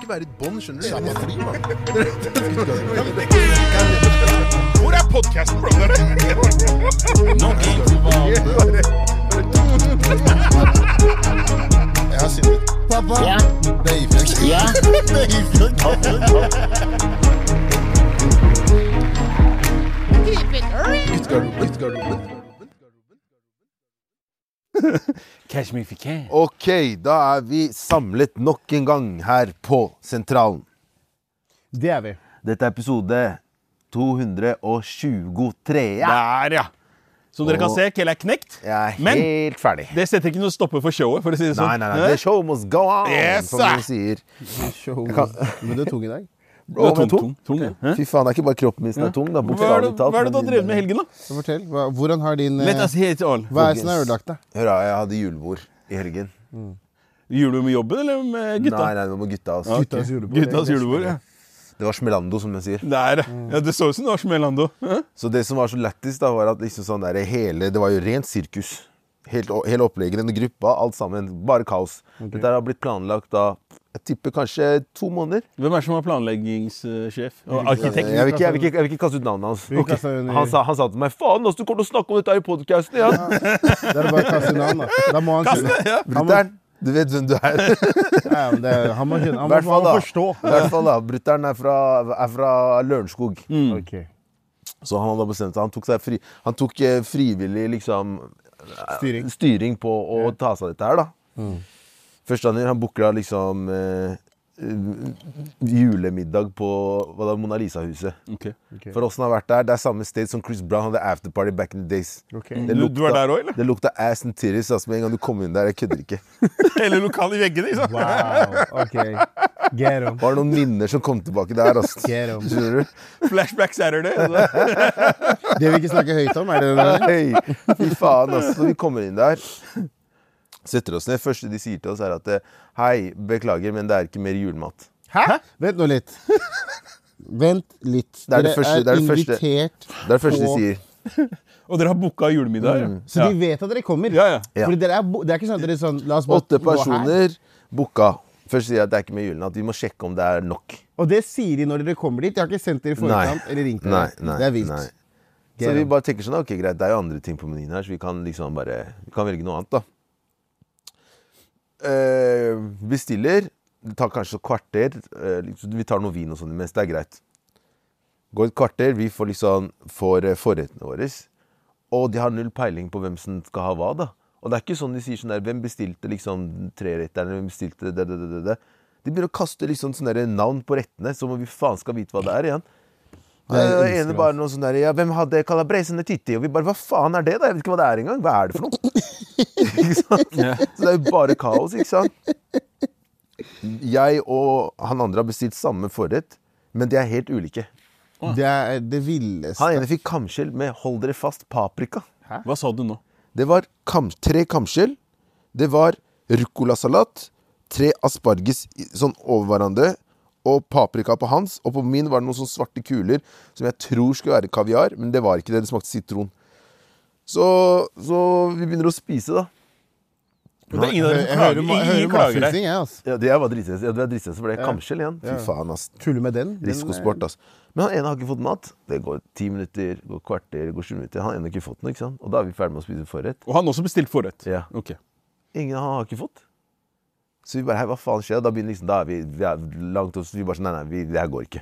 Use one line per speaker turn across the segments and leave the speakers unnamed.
ikke være i et bånd, skjønner du.
Samme fly, mann.
Hvor er podkasten, brother?
Jeg har sittet Pappa!
Ja.
Beifjell.
Ja.
Beifjell.
Guttegarderoben, guttegarderoben.
Catch me if you can.
Ok, da er vi samlet nok en gang her på Sentralen.
Det er vi.
Dette er episode 223.
Der, ja. Som dere kan se, Kjell er knekt.
Jeg er
Men
helt ferdig.
det setter ikke noe stopper for showet, for å si det
Nei,
sånn.
nei, nei. The show must go on,
Yes,
som de
sir.
sier.
Show. Men du er tung i dag.
Bro,
tung,
men tung.
tung, tung, ja. Hæ?
Fy faen, det er ikke bare kroppen min som er tung. da,
Hva er det,
bokstavelig talt.
hva er
men
det du har
min-
drevet med i helgen, da? altså,
Så Fortell. hva- Hvordan har din eh,
Let us hear it all.
Hva sånn er det som har ødelagt deg?
Hør, da, jeg hadde julebord i helgen.
Gjorde du med jobben, eller med gutta?
Nei, nei, det var med gutta. Altså.
Guttas julebord.
Guttas julebord, ja.
Det var Smelando, som jeg sier.
Der, ja. Det så ut som det var som Melando. Ja.
Så det som var så lættis, da, var at liksom sånn der, hele, det var jo rent sirkus. Helt, o- hele opplegget, denne gruppa, alt sammen. Bare kaos. Dette her har blitt planlagt da jeg tipper kanskje to måneder.
Hvem er det som var planleggingssjef? Og arkitekt?
Jeg vil ikke, jeg vil ikke, jeg vil ikke kaste ut navnet hans.
Vi kaster under-
Han, sa, han sa til meg 'faen, ass, du kommer til å snakke om dette her i podkasten igjen'.
Da er det bare å kaste inn navn, da. Da må han skjønne. Han må,
Brutter'n, du vet hvem du er.
ja, men det, er- han må, skjønne. Han må,
hvert fall
han må
da.
forstå.
I hvert fall da, Brutter'n er fra, er fra Lørenskog.
Ok.
Så han hadde bestemt seg. Han tok, seg fri, han tok eh, frivillig liksom,
Styring.
styring på å ta seg av dette her. da.
Mm.
Første han gjør, han booker da liksom eh, eh, julemiddag på hva da, Mona Lisa-huset.
Ok.
For oss som har vært der, Det er samme sted som Chris Brown hadde afterparty back in the days.
Ok.
Det
Du- du var der også, eller?
Det lukta ass and titties altså, med en gang du kom inn der. Jeg kødder ikke.
Hele lokalet i veggene, ikke sant?
Wow. Ok. Get him.
Var det noen minner som kom tilbake der? Altså.
Get him.
Skjønner du?
Flashback Saturday. altså.
Det vi ikke snakker høyt om, er det det?
Nei, fy faen, altså. Så vi kommer inn der, setter oss ned. første de sier til oss, er at eh, Hei, beklager, men det er ikke mer julemat.
Hæ? Vent nå litt. Vent litt.
Det er det første- det er det første.
invitert
Det er det første de
på-
sier.
Og dere har booka julemiddag? ja.
Så de vet at dere kommer.
Ja, ja.
Ja.
Fordi dere er, bo- det er ikke sånn at dere er sånn La oss bare
Åtte
gå her.
personer booka. Først sier de at det er ikke mer julemat. Vi må sjekke om det er nok.
Og det sier de når dere kommer dit. Jeg har ikke sendt dere i forkant eller ringt dere.
Nei, nei,
det er vilt.
nei.
Get
Så vi
him.
bare tenker sånn, ok greit, det er jo andre ting på menyen her, så vi kan liksom bare vi kan velge noe annet, da. Eh, bestiller. Det tar kanskje et kvarter. eh, liksom, vi tar noe vin og sånn imens. Det er greit. Går et kvarter, vi får liksom får eh, forrettene våre. Og de har null peiling på hvem som skal ha hva, da. Og det er ikke sånn de sier sånn der Hvem bestilte liksom treretterne? Hvem bestilte det, det, det, det, det? De begynner å kaste liksom sånne der navn på rettene, som om vi faen skal vite hva det er igjen.
Nei, jeg
Det
elsker
ene
det,
bare noe sånn der Ja, hvem hadde calabresene titti? Og vi bare Hva faen er det, da? Jeg vet ikke hva det er engang. Hva er det for noe? ikke sant? Så det er jo bare kaos, ikke sant? Jeg og han andre har bestilt samme forrett, men de er helt ulike.
Det er det villeste.
Han ene fikk kamskjell med 'hold dere fast' paprika.
Hva sa du nå?
Det var kam, tre kamskjell. Det var ruccolasalat. Tre asparges i- sånn over hverandre. Og paprika på hans. Og på min var det noen sånne svarte kuler som jeg tror skulle være kaviar, men det var ikke det. Det smakte sitron. Så, så vi begynner å spise, da.
Og det er ingen av dere
Jeg
som
hører,
klager.
ma- jeg hører
Ingen klager her.
matfysing, jeg, altså.
Ja, det jeg var dritstress. Ja, det var dritstress for det. Kamskjell igjen. Fy faen, ass.
Tuller med den. eh, den
Risikosport, altså. Men han ene har ikke fått mat. Det går ti minutter, går kvarter, går sju minutter. Han ene har ikke fått noe, ikke sant? Og da er vi ferdig med å spise forrett.
Og han også bestilte forrett?
Ja.
Ok.
Ingen han har ikke fått. Så vi bare hei, hva faen skjer? Da begynner liksom, da er vi, vi er langt opp, så vi bare sånn, nei, nei, vi, det her går ikke.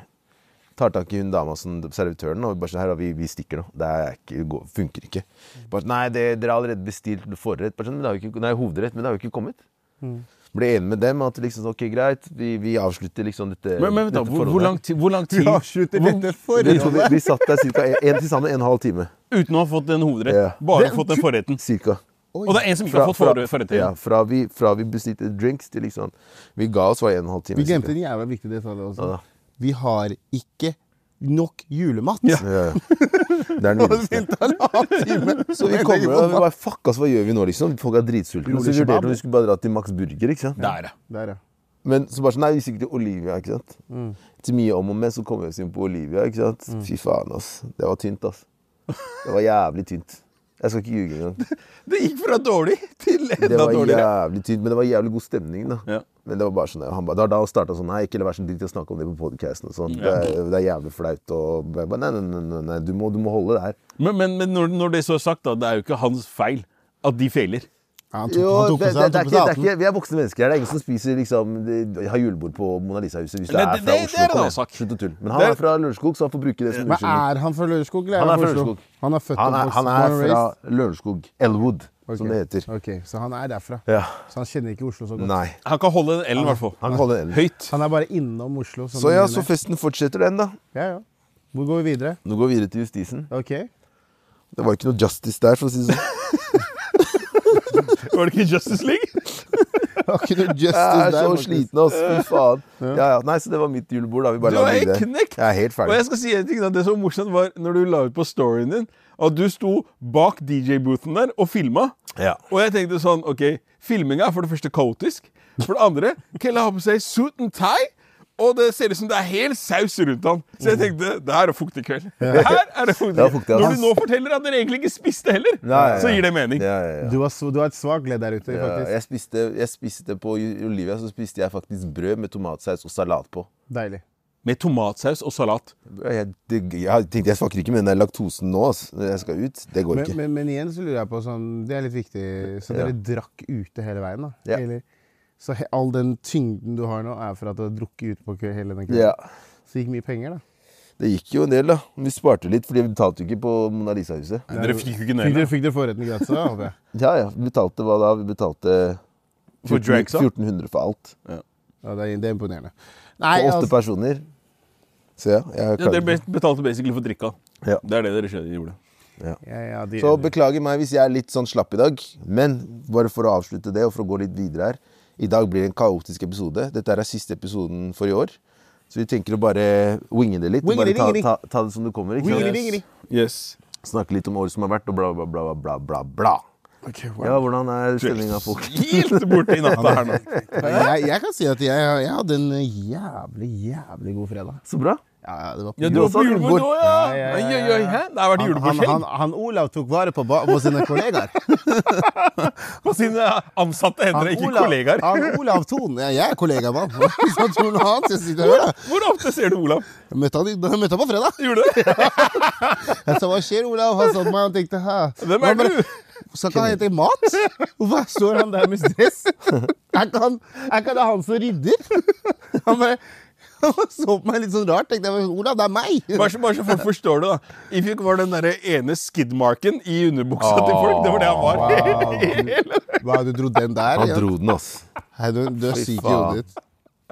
Tar tak i hun dama som servitøren, og vi bare sånn, her, da, vi, vi stikker nå. Det er ikke, det går- funker ikke. Bare sånn, nei, det, dere har allerede bestilt forrett, bare sånn, men det har jo ikke, nei, hovedrett, men det har jo ikke kommet.
Mm.
Ble enig med dem at liksom, ok, greit, vi, vi avslutter liksom dette
Men, men vent da,
dette
hvor,
forholdet
hvor
her.
lang tid, hvor lang tid
Vi avslutter dette
Det
forrige
tok- vi, vi satt der cirka en, en, til sammen en og en halv time,
uten å ha fått en hovedrett?
Ja.
Bare fått den forretten?
cirka.
Og det er en som ikke har fått forre- forretten?
ja, fra vi, fra vi bestilte drinks til liksom, vi ga oss var en og en halv time.
Vi
cirka.
glemte en jævla viktig detalj også.
Ja da.
Vi har ikke nok julemat.
Ja, ja. Det er den villeste. Så vi kommer og vi bare Fuck, ass, hva gjør vi nå, liksom? Folk er dritsultne. Så vi
kebab.
vurderte om vi skulle bare dra til Max Burger, ikke sant?
Der, ja.
Der, ja.
Men så bare sånn Nei, vi gikk til Olivia, ikke sant? Til mye om og med, så kom vi oss inn på Olivia, ikke sant? Fy faen, ass. Det var tynt, ass. Det var jævlig tynt. Jeg skal ikke ljuge engang.
Det gikk fra dårlig til
Det
enda
var
dårligere.
jævlig tynt, men det var jævlig god stemning, da.
Ja.
Men det var bare sånn, han ba, det var da han starta sånn Nei, ikke la være så dritt å snakke om det på podkasten og sånn. Det, er- det er jævlig flaut og jeg ba, Nei, nei, nei, nei, nei du, må, du må holde det her.
Men, men, men når, når det så er sagt, da, det er jo ikke hans feil at de feiler.
Han tok,
Jo,
han
det,
tok på
det,
seg, han
det, er
tok
ikke,
på
det
seg
er ikke,
18.
vi er voksne mennesker her. Det er ingen som spiser liksom de- Har julebord på Mona Lisa-huset hvis du
Nei,
er fra
det- det- det
Oslo.
er en
kom
annen
igjen.
sak.
Slutt å tulle. Men han
Det-
er fra Lørenskog, så han får bruke det som
Men
unnskyldning.
er han fra Lørenskog? eller
Han
er
er fra
Oslo?
Lørenskog.
Han er født
Han er,
og
han
born
er
and
fra
raised?
Lørenskog. Elwood,
Ok,
som det heter.
Ok, Så han er derfra.
Ja.
Så han kjenner ikke Oslo så godt.
Nei.
Han kan holde en L, i hvert fall.
Han kaller det Elwood.
Høyt.
Han er bare innom Oslo. som
Så
de
ja,
mener.
så festen fortsetter den, da.
ja, ja. Hvor går vi videre?
Nå går vi videre til justisen.
Ok.
Det var ikke noe justice der, for å si det sånn.
Var det ikke Justice League?
Akkurat
Jeg
justice
er
der.
så
faktisk.
sliten, ass. Fy faen. Ja, ja. Nei, så det var mitt julebord, da. Vi bare
Du
la
er
det ligge
helt
der.
knekt.
Jeg er helt
Og jeg
ferdig.
skal si en ting da, Det som var morsomt, var når du la ut på storyen din at du sto bak DJ-booten der og filma.
Ja.
Og jeg tenkte sånn OK, filminga er for det første kaotisk. For det andre, Kelle har på seg suit and tie. Og det ser ut som det er hel saus rundt han. Så jeg tenkte det her er fuktig kveld. Det her er det fuktig.
Det er fuktig, ass.
Når du nå forteller at dere egentlig ikke spiste heller,
Nei, ja, ja.
så gir det mening.
Ja, ja, ja.
Du har, så- du har et svakt ledd der ute,
Ja,
faktisk.
jeg, spiste, jeg spiste på i Olivia så spiste jeg faktisk brød med tomatsaus og salat på.
Deilig.
Med tomatsaus og salat.
Jeg, det, jeg tenkte jeg smaker ikke med den der laktosen nå. ass. Jeg skal ut. Det går
Men,
ikke.
men, men igjen så lurer jeg på sånn, Det er litt viktig. Så dere drakk ute hele veien, da?
Ja.
Eller, så he, all den tyngden du har nå, er for at du har drukket ute på kø hele den kvelden?
Ja,
Så det gikk mye penger, da?
det gikk jo en del, da. Vi sparte litt, fordi vi betalte jo ikke på Mona Lisa-huset.
Dere fikk jo ikke
Fikk
nøye
dere, fikk dere forretten gratis, da? håper jeg.
Ja, ja. Vi betalte hva da? Vi betalte
for
14
drinks. da.
1400 for alt.
Ja, det, er, det er imponerende. Nei,
For åtte
altså,
personer. Så ja, jeg
Ja, dere
klager.
be- betalte basically for drikka.
Ja.
Det er det dere skjønner gjorde.
ja, ja, de,
Så beklager meg hvis jeg er litt sånn slapp i dag, men bare for å avslutte det og for å gå litt videre her. I dag blir det en kaotisk episode. Dette er siste episoden for i år. Så vi tenker å bare winge det litt.
Winge
Bare
det,
ta,
winge det.
ta, ta det som det kommer. Ikke sant?
Yes.
Yes.
Snakke litt om året som har vært, og bla, bla, bla, bla, bla, bla. Ja, hvordan er stemninga, folk?
Helt borte i natta her nå.
jeg, jeg kan si at jeg, jeg hadde en jævlig, jævlig god fredag.
Så bra.
Ja, ja, det var
Ja, du var på
Jonas
julebord
julebord.
òg, ja!
Ja, ja,
Oi,
ja,
oi,
ja,
oi,
ja.
hæ? Der var det
han, han,
julebordskjegg
han, han Olav tok vare på, ba- på sine kollegaer.
på sine ansatte hender, ikke
Olav-
kollegaer.
Han Olav Thon. Ja, jeg er kollega med han. Så Thon og han, så jeg sitter her, da.
Hvor ofte ser du Olav?
Jeg møtte han, i- jeg møtte han på fredag.
Gjorde du det?
Jeg sa hva skjer, Olav? Han så på meg og tenkte hæ.
Hvem
Han
er
bare,
du?
Skal ikke han hete Mat? Hvorfor står han der med stress? Er ikke han, er ikke det han som rydder? Han bare han så på meg litt sånn rart. tenkte jeg, Olav, det er
Bare
meg!
så, bare så folk forstår det, da. Ifjok var den der ene skidmarken i underbuksa til folk. Det var det han var.
Hva, du dro den der?
Han
ja?
dro den, ass.
Hei, du, du er
Fy
syk i
faen.
hodet ditt.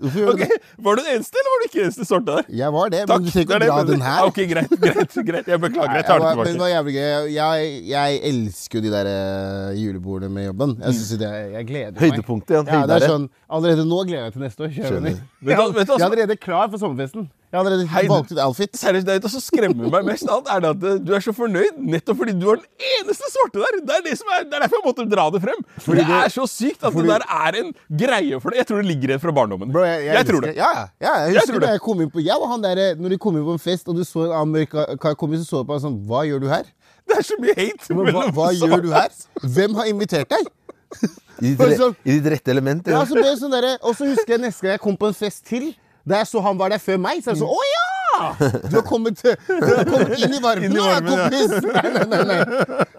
Hvorfor gjør du
Ok,
det?
Var du den eneste, eller var du ikke den eneste sorte der?
Jeg var det,
Takk.
men du trenger
det er
ikke
det
å dra
jeg mener.
den her.
Ok, greit, greit, greit. Jeg beklager. Jeg tar
Nei,
det
jeg var- Men det
tilbake.
var jævlig gøy. Jeg, jeg elsker jo de der eh, julebordene med jobben. Jeg, synes jo det, er- jeg gleder meg.
Høydepunktet, ja.
Ja, det er
Høydere.
sånn, allerede nå gleder jeg meg til neste år. kjører
Skjønner.
vi.
Vet du hva- vet du hva
Jeg er
som-
allerede klar for sommerfesten. Jeg har allerede
Hei, du-
valgt ut outfit.
Seriøst, det er det som skremmer meg mest av alt, er det at eh, du er så fornøyd nettopp fordi du var den eneste svarte der. Det er, det som er, det er derfor jeg måtte dra det frem. For det, er så sykt at det der er en greie for deg. Jeg tror det ligger igjen fra barndommen.
Bro, jeg, jeg,
tror
elsker-
det.
Ja, ja, jeg
Jeg
husker
tror det.
da jeg kom inn på, jeg og han der, eh, når du kom inn på en fest og du så en annen mørk kar komme inn, så så du på han sånn Hva gjør du her?
Det er så mye hate.
Men Hva,
mellom
hva
svarte.
gjør du her? Hvem har invitert deg?
I ditt,
Bare
re
sånn-
I ditt rette element.
Ja,
Ja.
så ble det sånn derre- Og så husker jeg neste gang jeg kom på en fest til, der jeg så han var der før meg, så jeg sånn Å ja! Du har kommet, til- du har kommet inn i varmen,
Inn i
nå,
varmen, ja.
kompis! Nei, nei, nei, nei.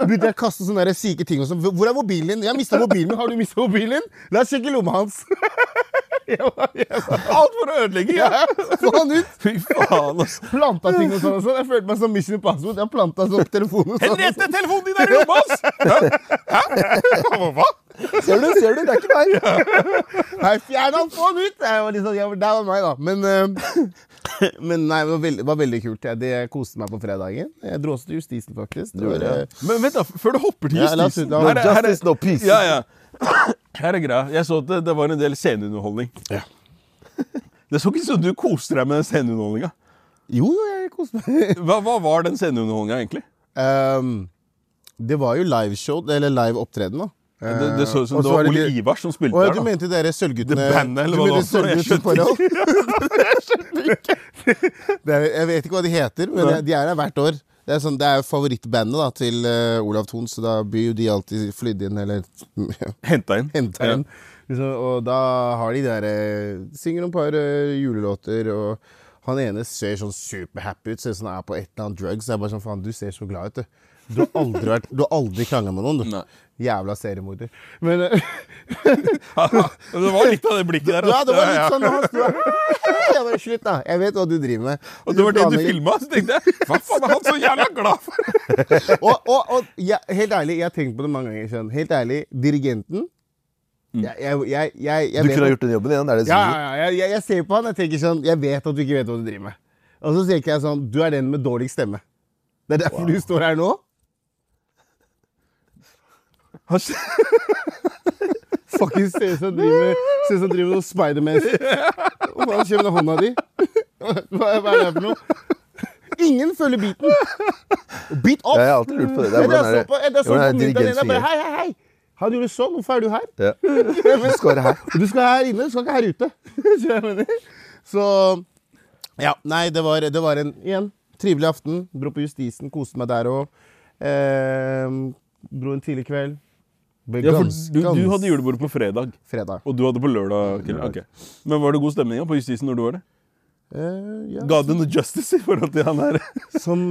Begynte jeg å kaste sånne der syke ting og sånn. Hvor er mobilen din? Jeg har mista mobilen min. Har du mista mobilen din? La oss sjekke lomma hans.
Alt for å ødelegge. Ja.
Få han ut!
Fy faen, altså.
Planta ting og sånn. og sånn. Jeg følte meg som Mission Impossible. Jeg planta sånn telefonen og sånn.
Henriette, telefonen din er i lomma hans! Hæ? Hæ? Hva?
Ser du, ser du? Det er ikke meg.
Nei, fjern han, få han ut! Jeg var liksom, jeg var, det var meg, da. Men, eh, men nei, det var veldig, var veldig kult. Jeg, det jeg koste meg på fredagen. Jeg dro også til justisen, faktisk. Det
gjorde
var, eh,
Men vent, da. Før du hopper til
Ja, la oss-
justisen.
la oss-
Justice, no peace.
Ja, ja. Her er greia. Jeg så at det, det var en del sceneunderholdning. Det så ikke ut som du koste deg med den sceneunderholdninga.
Jo, jo, jeg koste meg.
Hva, hva var den sceneunderholdninga, egentlig?
Ehm, det var jo liveshow, eller live opptreden, da.
Det, det så ut som
Eh,
det
Og så
var
var det
Ole
de-
Ivars som spilte
Å ja,
der.
du
da.
mente dere Sølvguttene
The Band, eller
du
hva det
mente
var for noe? Jeg
Sølvguttene
skjønte
forhold? Det er- Jeg vet ikke hva de heter, men jeg- de er her hvert år. Det er, sånn, det er jo favorittbandet da, til eh, Olav Thon, så da blir jo de alltid flydd inn, eller
Henta inn.
henta inn. Liksom, og da har de der eh, Synger noen par eh, julelåter, og han ene ser sånn superhappy ut, ser ut som han er på et eller annet drugs. Jeg er bare sånn, faen, du ser så glad ut, du. Du har aldri, vært- du har aldri krangla med noen, du.
Nei.
Jævla seriemorder. Men eh,
det var litt av det blikket der.
ja, det var
Ja, ja.
litt sånn han sto Jeg bare Slutt, da. Jeg vet hva du driver med.
Og det var det du
planlegger-
filma, så tenkte jeg hva faen er han så jævla glad for?
og, og, og jeg, helt ærlig, jeg har tenkt på det mange ganger. Skjønn. Helt ærlig, dirigenten
Mm.
jeg, jeg, jeg, jeg, jeg
Du
vet
kunne ha
at-
gjort den jobben igjen. er det
ja,
sikkert?
ja, ja, jeg, jeg ser på han jeg tenker sånn Jeg vet at du ikke vet hva du driver med. Og så tenker jeg sånn Du er den med dårligst stemme. Det er derfor du står her nå.
Han s-
Fucking ser ut som han driver ser ut som han driver med noe Spiderman. Hva faen kommer med hånda di? Hva, hva er det for noe? Ingen følger beaten. Beat off!
Jeg har alltid lurt på det. det er,
Hvordan
hvordan er det?
Jeg så
Hvordan er
på middagen din, jeg bare
dirigentfingeren?
Hei, hei, hei! Han gjorde sånn, hvorfor er du her?
Ja. Du skal være her.
Du skal her inne, du skal ikke her ute. Skjønner du hva jeg mener? Så Ja. Nei, det var, det var en igjen, trivelig aften. Dro på Justisen, koste meg der òg. Eh, dro en tidlig kveld. Ble
Ja, for
gans-
du, du
gans-
hadde julebord på fredag,
Fredag.
og du hadde på lørdag. kveld. Ok. Men var det god stemning ja, på justisen når du var det?
Eh, ja.
Ga det noe justice i forhold til han der?
Som,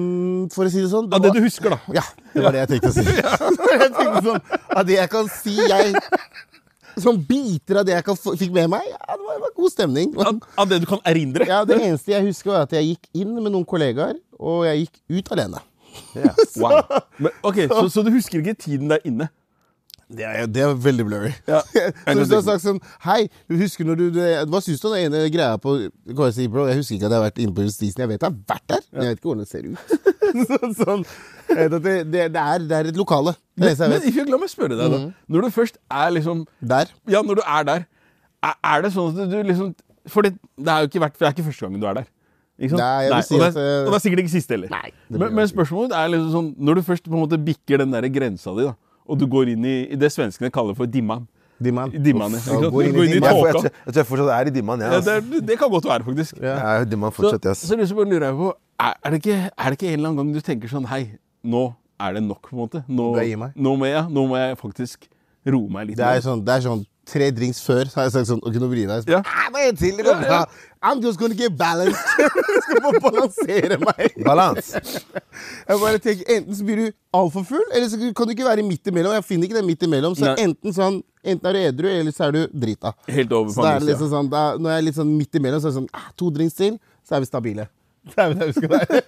for å si det sånn
Av det du husker, da.
Ja, det var det jeg tenkte å si. jeg tenkte sånn, Av det jeg kan si, jeg Som biter av det jeg kan, få- fikk med meg, ja, det var, det var god stemning.
Av, av det du kan erindre.
Ja, Det eneste jeg husker, var at jeg gikk inn med noen kollegaer, og jeg gikk ut alene.
Wow. Men, ok, så, så du husker ikke tiden der inne?
Det er, det er veldig blurry.
Ja.
Så hvis du har sagt sånn Hei, du husker når du, du Hva syns du om den ene greia på Kan jeg si, bro, jeg husker ikke at jeg har vært inne på justisen. Jeg vet jeg har vært der, men jeg vet ikke hvordan det ser ut. sånn, sånn. Jeg vet at Det, det, det, er, det er et lokale. Det er det eneste
Men
jeg vet.
ikke la meg spørre deg, da. Når du først er liksom
Der.
Ja, når du er der, er, er det sånn at du, du liksom For det, det er jo ikke, vært, det er ikke første gangen du er der. Ikke sant?
Nei, jeg vil si
og,
at,
det, er-
eh,
og det er sikkert ikke siste heller.
Nei, det blir
men,
det
men
ikke.
spørsmålet er liksom sånn Når du først på en måte bikker den der grensa di, da, og du går inn i, i det svenskene kaller for dimman
Dimman.
Dimman,
Uff,
ikke sant?
ja, gå inn i
Du går inn i
dimman.
Jeg, får- jeg,
tåka.
tror- jeg tror jeg fortsatt er i dimman, jeg.
Ja,
Altså.
det, er- det kan godt være, faktisk.
Jeg er i dimman
Så,
fortsatt, jeg. ass.
så liksom bare lurer jeg på er, er, det ikke, er det ikke en eller annen gang du tenker sånn Hei, nå er det nok, på en måte. Nå,
bør jeg gi meg.
nå, må, jeg, nå må jeg faktisk roe meg litt.
Det er sånn, det er sånn tre drinks før, så har jeg sagt sånn Ok, nå vrir jeg
Ja.
deg. Ah, nå er jeg til, ja, ja. I'm just gonna get balanced. jeg skal bare balansere meg.
Balans.
Jeg bare tenker, Enten så blir du altfor full, eller så kan du ikke være midt imellom. Jeg finner ikke den midt imellom. Så
Nei.
enten sånn Enten er du edru, eller så er du drita.
Helt over
Så
på
da
andre
er det liksom sånn, da, når jeg er litt sånn midt imellom, så er det sånn ah, To drinks til, så er vi stabile. Det er vi der vi skal være.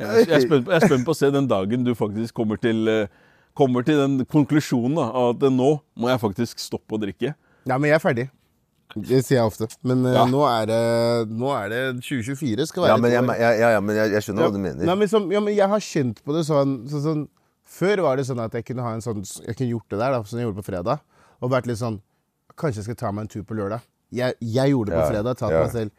Jeg jeg er spent på, jeg er spent på å se den dagen du faktisk kommer til, eh, kommer til den konklusjonen da, at eh, nå må jeg faktisk stoppe å drikke.
Nei, men jeg er ferdig. Det sier jeg ofte. Men eh,
Ja.
nå, er det, nå er det 2024 skal
Ja,
være
men
et
jeg,
år.
jeg, ja, ja, men jeg, jeg skjønner hva du
Nei,
mener.
men, som, ja, men jeg har kjent på det sånn, så, sånn Før var det sånn at jeg kunne, ha en sånn, jeg kunne gjort det der, da, som jeg gjorde på fredag. Og vært litt sånn Kanskje jeg skal ta meg en tur på lørdag. Jeg, jeg gjorde det på
Ja,
fredag. Tatt
ja.
meg selv.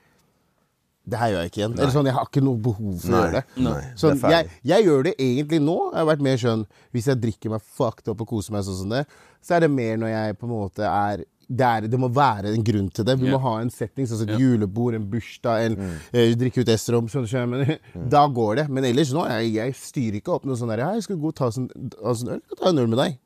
Det her gjør jeg ikke igjen. Eller sånn, Jeg har ikke noe behov for å
Nei,
gjøre det.
nei, det er
Sånn,
ferdig.
jeg, jeg gjør det egentlig nå. Jeg har vært mer skjønn Hvis jeg drikker meg fucked up og koser meg sånn som det, så er det mer når jeg på en måte er det, er, det må være en grunn til det. Vi
Ja.
må ha en setting, sånn som et julebord, en bursdag, en eh, drikke ut S-rom. Sånn, skjønner jeg, men, Da går det. Men ellers nå, jeg, jeg styrer ikke opp noe sånn der, «Hei, Skal du gå og ta oss en, ta oss en øl? Jeg kan ta en øl med deg.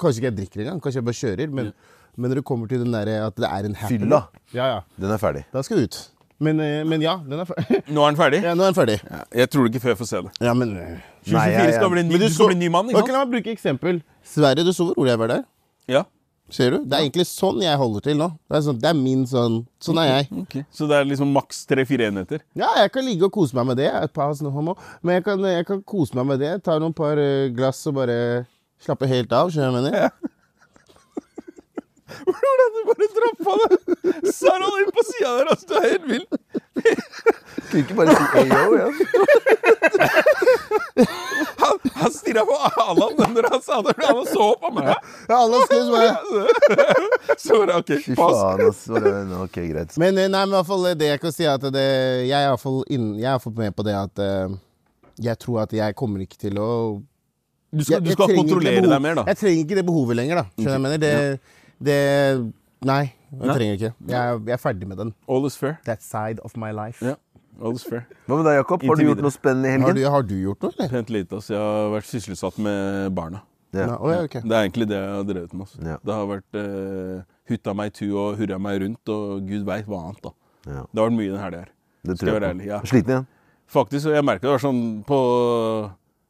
Kanskje ikke jeg drikker engang, kanskje jeg bare kjører. Men, men når det kommer til den der, eh, at det er en happy
Fylla.
ja, ja,
Den er ferdig.
da skal du ut. Men, eh, men ja, den er ferdig.
Nå er den ferdig?
ja, nå er den ferdig.
Jeg tror det ikke før jeg får se det.
Ja, men eh,
2024
Nei, jeg- jeg-
skal bli en ny,
Men
du,
så-
skal bli en ny mann, ikke
Ok,
sant?
La meg bruke eksempel. Sverre, du så hvor rolig jeg var der.
Ja.
Ser du? Det er egentlig sånn jeg holder til nå. Det er, sånn, det er min sånn Sånn er jeg.
Så det er liksom maks tre-fire enheter.
Ja, jeg kan ligge og kose meg med det. Et par sånne homo. Men jeg kan, jeg kan kose meg med det. Ta noen par eh, glass og bare slappe helt av. Skjønner du hva jeg mener?
Hvordan du bare trappa det! Saron inn på sida der, altså. Du er helt vill.
Kunne ikke bare si ayo, ja.
Han, han stirra på Allan når han sa det, for han så på meg.
Ja, alle skal så bare
Så var det OK,
Fy
pass.
faen, ass. Var det- nå, Ok, greit.
Men eh, nei, men i hvert fall eh, det jeg kan si, er at det, jeg er i hvert fall innen- jeg er i hvert fall med på det at eh, jeg tror at jeg kommer ikke til å
Du skal,
Jeg-
du skal
jeg trenger ikke det
kontrollere
behov-
deg mer, da.
Jeg trenger ikke det behovet lenger, da. Skjønner du hva jeg mener? Det, det Nei, jeg trenger ikke. Jeg, er- jeg er ferdig med den.
All is fair.
That side of my life.
Ja. All's fair.
Hva med deg, Jakob? Har du
Inntil
gjort
videre.
noe spennende i
Har
helgen?
du, har du gjort noe, eller?
Pent lite, ass. altså. Jeg har vært sysselsatt med barna.
Ja.
Nei, å, ja, ok.
Det er egentlig det jeg har drevet med. ass.
Ja.
Det har vært eh, hutta meg tu og hurra meg rundt og gud veit hva annet. da.
Ja.
Det har vært mye den helga her.
Det
Skal jeg
tror
være
jeg
ærlig.
på.
Ja.
Sliten igjen?
Faktisk, og jeg merket det var sånn på,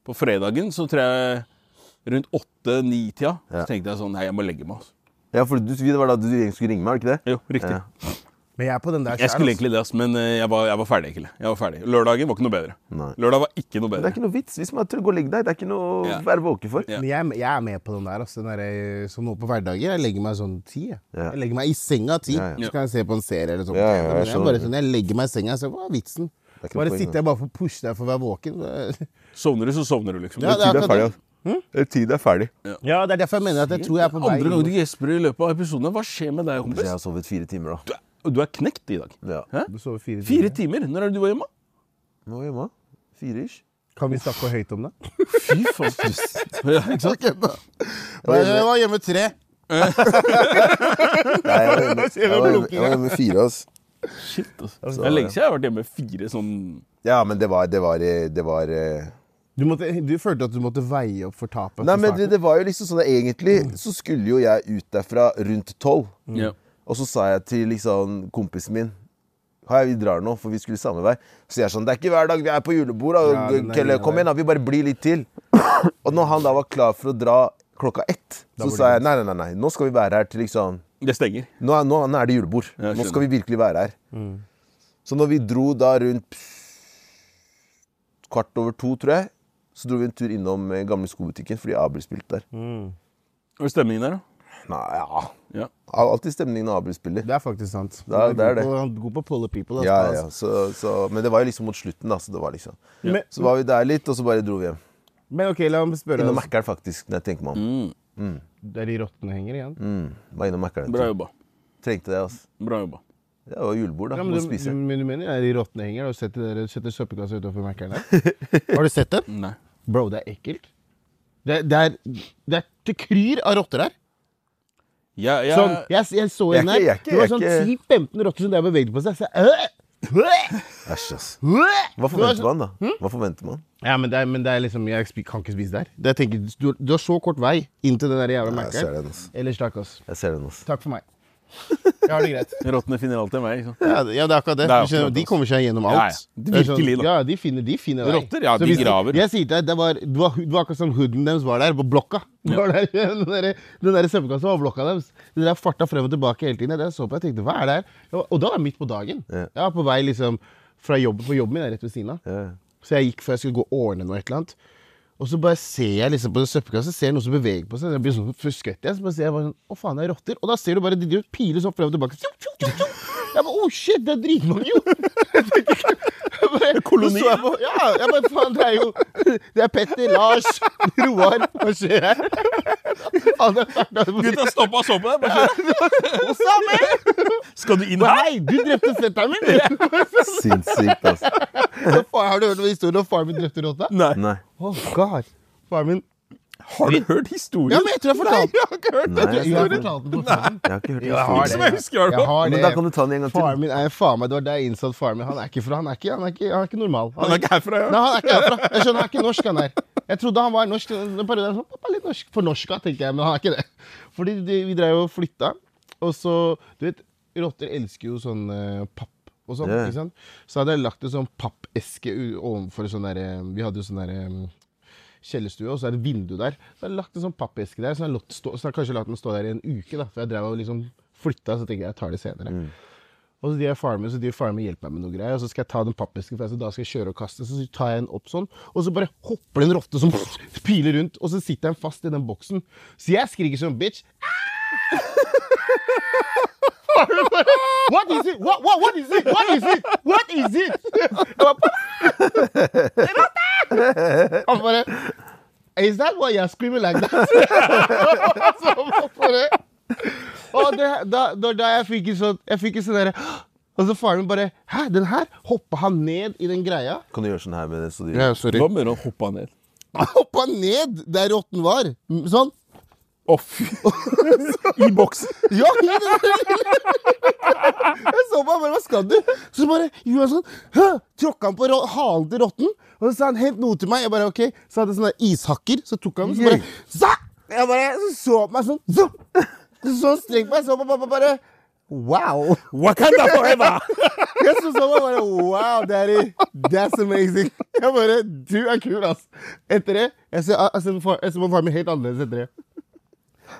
på fredagen, så tror jeg rundt åtte-ni-tida,
Ja.
så tenkte jeg sånn Nei, jeg må legge meg. ass.
Ja, for du, det var da du egentlig skulle ringe meg, var det ikke det?
Jo, riktig.
Ja.
Men jeg er på den der
Jeg
selv, altså.
skulle egentlig det, ass, men eh, jeg var, jeg var ferdig. egentlig. Jeg var ferdig. Lørdagen var ikke noe bedre.
Nei.
Lørdag var ikke
Men
noe
Det
bedre.
er ikke noe vits. Hvis man er trygg, gå og legg deg. Det er ikke noe
Ja.
å være våken for.
Ja.
Men jeg, jeg er med på den der. Altså, den der som nå på hverdager. Jeg legger meg sånn ti. Jeg.
Ja.
jeg legger meg i senga ti,
Ja, ja.
så kan jeg se på en serie eller sånt.
Ja, ja, jeg
men jeg,
skjønner
er bare
det.
sånn, jeg legger meg i senga, så hva er vitsen?
er ikke noe
Bare
poeng,
sitter jeg bare for å pushe deg for å være våken.
Sovner du, så sovner du, liksom.
Ja, det er akkurat det.
Tiden er ferdig.
Ja, det er derfor jeg mener at jeg tror jeg er på vei
Andre gang du
inn.
gjesper i løpet av episoden. Hva skjer med deg,
Jeg
kompis?
har sovet fire timer, da.
Du er, du er knekt i dag.
Ja.
Hæ?
Du sover fire
Fire
timer.
timer? Når er det du var hjemme?
Nå er jeg hjemme. Fire ish.
Kan vi snakke høyt om det?
Fy faen. ja, ikke sant?
Okay, da. Jeg var hjemme tre.
Nei, jeg var hjemme,
jeg var hjemme- jeg var
fire, ass.
Shit, ass. Det er lenge siden jeg har vært hjemme fire sånn
Ja, men det var, det var, eh, det var eh,
Du, måtte, du følte at du måtte veie opp for tapet?
Nei,
fra
men det,
starten.
det var jo liksom sånn at egentlig så skulle jo jeg ut derfra rundt tolv.
ja.
Og så sa jeg til liksom kompisen min Hei, vi drar nå, for vi skulle samme vei. Så jeg er sånn, det er ikke hver dag vi er på julebord. da.
Ja, den der
Kelle,
greia
kom
der.
igjen, da, vi bare blir litt til. Og når han da var klar for å dra klokka ett, så sa jeg nei, nei, nei, nei, nå skal vi være her til liksom
Det stenger.
Nå er, nå, nå er det julebord.
Ja, jeg
Nå skal
skjønner.
vi virkelig være her. Så når vi dro da rundt kvart over to, tror jeg, så dro vi en tur innom eh, gamle skobutikken fordi Abel spilte der.
Hva er stemningen der, da?
Nei, ja.
Ja.
Al- Alltid stemningen når Abel spiller.
Det er faktisk sant.
Ja, det er det.
God på, god på pull people.
Ja,
altså.
ja, så, så, men det var jo liksom mot slutten, da. Så, det var liksom.
Men,
så var vi der litt, og så bare dro vi hjem.
men ok, la meg spørre.
Innom
Altså.
Mækkern, faktisk. når jeg tenker meg om.
Mm.
Der de rottene henger igjen?
Mm. Var innom Mækkern.
Bra jobba.
Trengte det, altså.
Bra jobba.
Det var julebord, da.
Ja,
Ja,
men
Må
Mm. du, du,
spise.
men du mener er de rottene henger? Har du sett det der- setter søppelkassa utenfor Mækkern der? Har du sett den?
Nei.
Bro, det er ekkelt. Det, det, er, det er til kryr av rotter her.
Jeg, jeg,
Sånn, jeg, jeg så
Jeg er
en
ikke- jeg er
her.
ikke-
Det var sånn
jeg er
10-15 rotter som der bevegde på seg. Så jeg, øh, øh,
Æsj, ass.
øh.
Hva
Det var
forventer man, da? Hva forventer man?
Ja, men det, er, men det er liksom, jeg spi- kan ikke spise der. Det jeg tenker, du, du har så kort vei inn til den altså. der jævla
Jeg ser
Mækkern.
den, ass.
Ellers takk, ass.
Jeg ser den, ass.
Takk for meg. Jeg har det greit.
Rottene finner alltid meg. Ikke sant?
Ja, det- ja, det er akkurat det.
Det er
Du skjønner,
akkurat
de
det,
kommer seg gjennom alt.
Ja, ja.
Det er sånn-
Virkelig, da.
Ja, de finner, de finner deg.
Rotter, ja, de
hvis
graver.
Jeg sier til deg, det var, det var, det var akkurat som hooden deres var der, på blokka. Det Var der, den der, den der søppelkassa var blokka deres. De der farta frem og tilbake hele tiden. Jeg så på, jeg tenkte, hva er det her? Og, og da var jeg midt på dagen.
Ja.
Jeg var på vei liksom, fra jobben, for jobben min er rett ved siden av.
Ja.
Så jeg gikk før jeg skulle gå og ordne noe et eller annet. Og så bare ser jeg liksom på den søppelkassa, ser jeg noe som beveger på seg. Jeg blir sånn forskøtt igjen. Så bare ser jeg bare sånn, å faen, det er rotter. Og da ser du bare de driver og piler sånn frem og tilbake. Tjo, tjo, tjo, tjo. Jeg bare, oh shit, det er dritmange jo. Jeg bare-
Koloni.
så jeg på- Ja, jeg bare, faen, det er jo Det er Petter, Lars, Roar. Hva skjer her? Faen, det er startet på-
Gutta stoppa og så på deg. Bare skjønner. Skal du inn her?
Hei, du drepte fetteren min!
Sinnssykt, ass.
Hva faen, Har du hørt noen historier om faren min drepte rotta?
Nei.
Nei.
Oh, God. Faren min
Har du hørt historien?
Ja, men jeg tror jeg
Nei,
fortalte
jeg har ikke hørt
Nei,
den.
jeg
Jeg har
har
fortalt den på
Jeg har ikke hørt
jeg har
historien.
Som jeg husker, i hvert fall.
har
Men da kan du ta den en gang til.
Faren min er faen meg, det var der jeg innså at faren min han er ikke fra, han er ikke, han er ikke, han er ikke normal.
Han er ikke herfra, ja.
Nei, han er ikke herfra. Jeg skjønner, han er ikke norsk, han er. Jeg trodde han var norsk. Den perioden er jeg sånn, pappa er litt norsk, fornorska, tenker jeg, men han er ikke det. Fordi de, vi drev og flytta, og så Du vet, rotter elsker jo sånn eh, papp og sånn,
Ja.
ikke sant? Så hadde jeg lagt en sånn pappeske u- ovenfor sånn derre Vi hadde jo sånn derre kjellerstue, og så er det et vindu der. Så har jeg lagt en sånn pappeske der, så har jeg latt stå, så har jeg kanskje latt den stå der i en uke, da, for jeg drev og liksom flytta, så tenkte jeg jeg tar det senere. Og så de er faren min, så de faren min hjelper meg med noe greier, og så skal jeg ta den pappesken, for jeg, så da skal jeg kjøre og kaste, så tar jeg den opp sånn, og så bare hopper det en rotte som piler rundt, og så sitter den fast i den boksen. Så jeg skriker som bitch. Faren min bare, What is it? What, what, what is it? What is it? What is it? Jeg bare, han bare Oh, Is that why you're screaming like that? så hvorfor det? Og Oh, det, da, da, da jeg fikk en sånn Jeg fikk en sånn derre Og så faren min bare Hæ, den her? Hoppa han ned i den greia?
Kan du gjøre sånn her med det? Så du...
Ja, sorry.
Hva med å hoppe ned?
Han hoppa ned der rotten var. Mm, Sånn.
Å, fy! I boksen.
Ja, jeg så på han bare, hva skal du? Så bare gjorde han sånn, «Hæ?» tråkka han på rå- halen til rotten, og så sa han hent noe til meg. Jeg bare ok, så hadde jeg sånne ishakker, så tok han den, så bare «Za!» Jeg bare så så på meg sånn, «Za!» så så han strengt på meg, så på pappa bare wow.
Wakanda forever!
Jeg så så på meg bare wow, daddy, that's amazing. Jeg bare du er kul, ass. Etter det, jeg ser, jeg ser, på far- jeg ser på faren min helt annerledes etter det.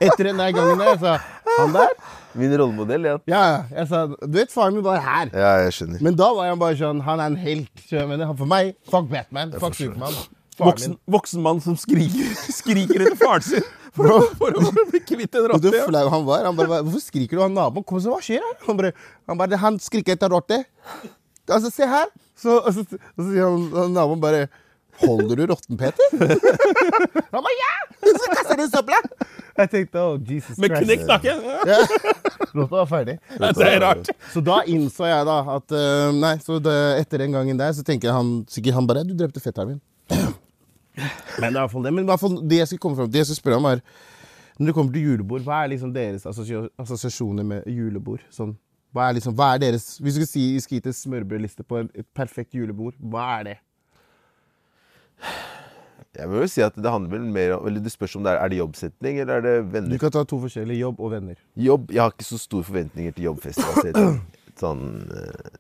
Etter den der gangen der, jeg sa han der
Min rollemodell, ja.
ja, ja. Jeg sa, du vet, faren min var her.
Ja, jeg skjønner.
Men da var han bare sånn Han er en helt. skjønner jeg mener. Han For meg, fuck Batman, fuck Supermann. Faren
Voksen,
min.
voksen mann som skriker, skriker etter faren sin for, å- for å bli kvitt en
Og
rotte.
du
Ja.
flau han var. Han bare, hvorfor skriker du? Han naboen kom så, hva skjer her? Han bare, han, bare, han skriker etter rotte. Altså, se her. Så, og så, og så sier han, han naboen bare Holder du rotten, Peter? han bare ja! Så kaster du søpla. Jeg tenkte oh, Jesus
Med
Christ.
knekt nakke. Ja,
Rotta var ferdig.
Det er rart.
Så da innså jeg da at eh, Nei, så det, etter den gangen der så tenker jeg han sikkert han bare Du drepte fetteren min. Men det er i hvert fall det. Men i hvert fall det jeg skal komme frem til, det jeg skal spørre om, er Når det kommer til julebord, hva er liksom deres assosio- assosiasjoner med julebord? Sånn, hva er liksom, hva er deres Hvis du skulle si vi skulle gitt en smørbrødliste på en- et perfekt julebord, hva er det?
Jeg vil jo si at det handler vel mer om Eller det spørs om det er, er det jobbsetning, eller er det
Du
venner?
kan ta to forskjellige jobb og venner.
Jobb Jeg har ikke så store forventninger til jobbfestival. Sånn eh,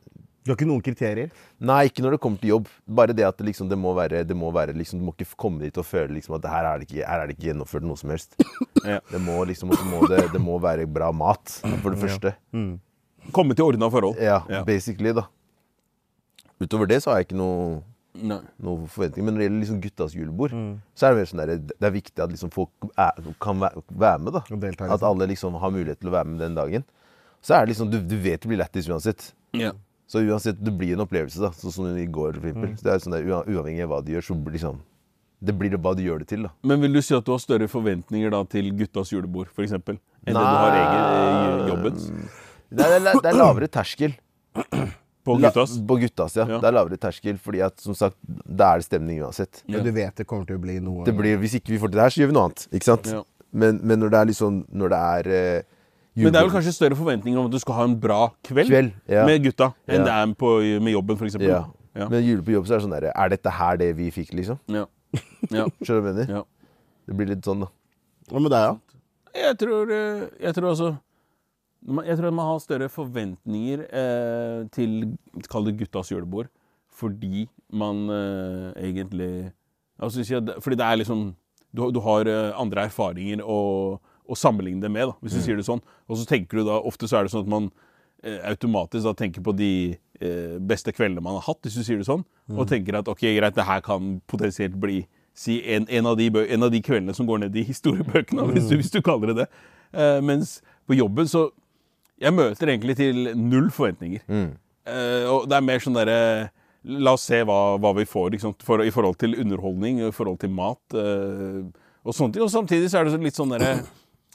Du har ikke noen kriterier?
Nei, ikke når det kommer til jobb. Bare det at det, liksom, det må være, det må være liksom, Du må ikke komme dit og føle liksom, at her er, det ikke, her er det ikke gjennomført noe som helst. Det må, liksom, og så må det, det må være bra mat, for
Mm,
det første.
Komme til ordna forhold.
Ja,
Ja.
basically, da. Utover det så har jeg ikke noe
Nei.
noen forventninger. Men når det gjelder liksom guttas julebord,
Mm.
så er det mer sånn der, det er viktig at liksom folk er, kan væ- være med. da.
Og delta, liksom.
At alle liksom har mulighet til å være med den dagen. Så er det liksom, du, du vet det blir lættis uansett.
Ja.
Så uansett, det blir en opplevelse, da. Sånn som i går, for
Mm.
eksempel. Så det er sånn der, ua- uavhengig av hva du gjør, så blir liksom, det blir det hva du gjør det til. da.
Men vil du si at du har større forventninger da til guttas julebord, f.eks.? Enn det du har egen, eh, jobbens?
Det er, det er, det er lavere terskel.
På
La-
guttas?
på guttas, ja.
Ja.
Det er lavere terskel, fordi at, som sagt, da er det stemning uansett.
Ja.
Men du vet det kommer til å bli noe
det blir, hvis ikke vi får til det her, så gjør vi noe annet. Ikke sant?
Ja.
Men, men når det er liksom Når det er eh,
Men det er vel
julebord-
kanskje større forventninger om at du skal ha en bra kveld,
Kveld, ja.
med gutta enn
Ja.
det er på, med jobben, f.eks.
ja.
Ja.
Men jule på jobb så er det sånn der Er dette her det vi fikk, liksom?
Ja. Ja.
Skjønner du hva jeg mener?
Ja.
Det blir litt sånn, da.
Hva med deg, da?
Jeg tror, eh, jeg tror altså man- Jeg tror man har større forventninger eh, til Kall det guttas julebord, fordi man eh, egentlig altså, hvis jeg- Fordi det er liksom Du, har- du har eh, andre erfaringer å, å sammenligne det med, da, hvis du sier det sånn. Og så tenker du da Ofte så er det sånn at man eh, automatisk da tenker på de eh, beste kveldene man har hatt, hvis du sier det sånn, og tenker at ok, greit, det her kan potensielt bli si en, en, av de bø en av de kveldene som går ned i historiebøkene, da, hvis, du, hvis du kaller det det. Eh, mens på jobben så Jeg møter egentlig til null forventninger. Eh, og det er mer sånn derre La oss se hva, hva vi får ikke sant? For, i forhold til underholdning, i forhold til mat eh, og sånne ting. Og samtidig så er det så litt sånn derre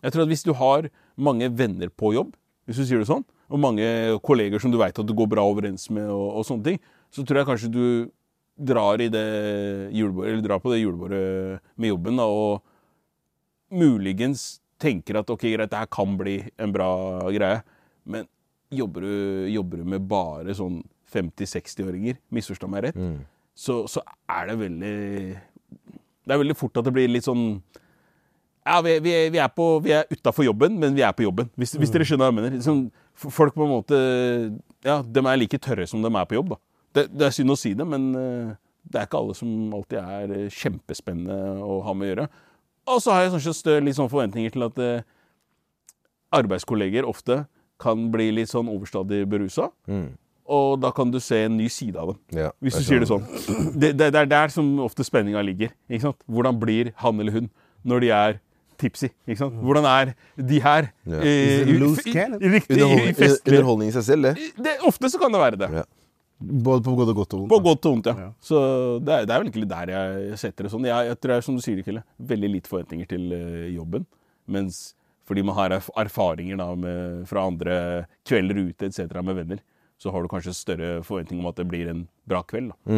Jeg tror at hvis du har mange venner på jobb, hvis du sier det sånn, og mange kolleger som du veit at du går bra overens med, og, og sånne ting, så tror jeg kanskje du drar, i det julebordet, eller drar på det julebordet med jobben da, og muligens tenker at ok, greit, det her kan bli en bra greie, men jobber du, jobber du med bare sånn 50-60-åringer, misforstå meg rett, så, så er det veldig Det er veldig fort at det blir litt sånn ja, vi, vi, vi er, på- vi er utafor jobben, men vi er på jobben. Hvis, hvis dere skjønner hva jeg mener. Liksom, f- folk på en måte Ja, de er like tørre som de er på jobb, da. Det, det er synd å si det, men eh, det er ikke alle som alltid er eh, kjempespennende å ha med å gjøre. Og så har jeg kanskje stø- litt sånn forventninger til at eh, arbeidskolleger ofte kan bli litt sånn overstadig berusa. Og da kan du se en ny side av dem.
Ja,
Hvis du
jeg
sier det sånn. Det, det, det er der som ofte spenninga ligger. Ikke sant? Hvordan blir han eller hun når de er tipsy? Ikke sant? Hvordan er de her?
Ja.
eh, i-
loose
i-
cannon?
i- Riktig, i- i
Underholdning,
festlig
underholdning i seg selv, det.
det, Ofte så kan det være det.
Ja.
Både på både godt og vondt.
På godt og vondt, ja. Så det er, det er vel egentlig der jeg, jeg setter det sånn. Jeg, jeg tror, jeg, som du sier, Kille, veldig lite forventninger til eh, jobben. Mens fordi man har erf erfaringer da, med, fra andre kvelder ute etc. med venner, så har du kanskje større forventning om at det blir en bra kveld. Da.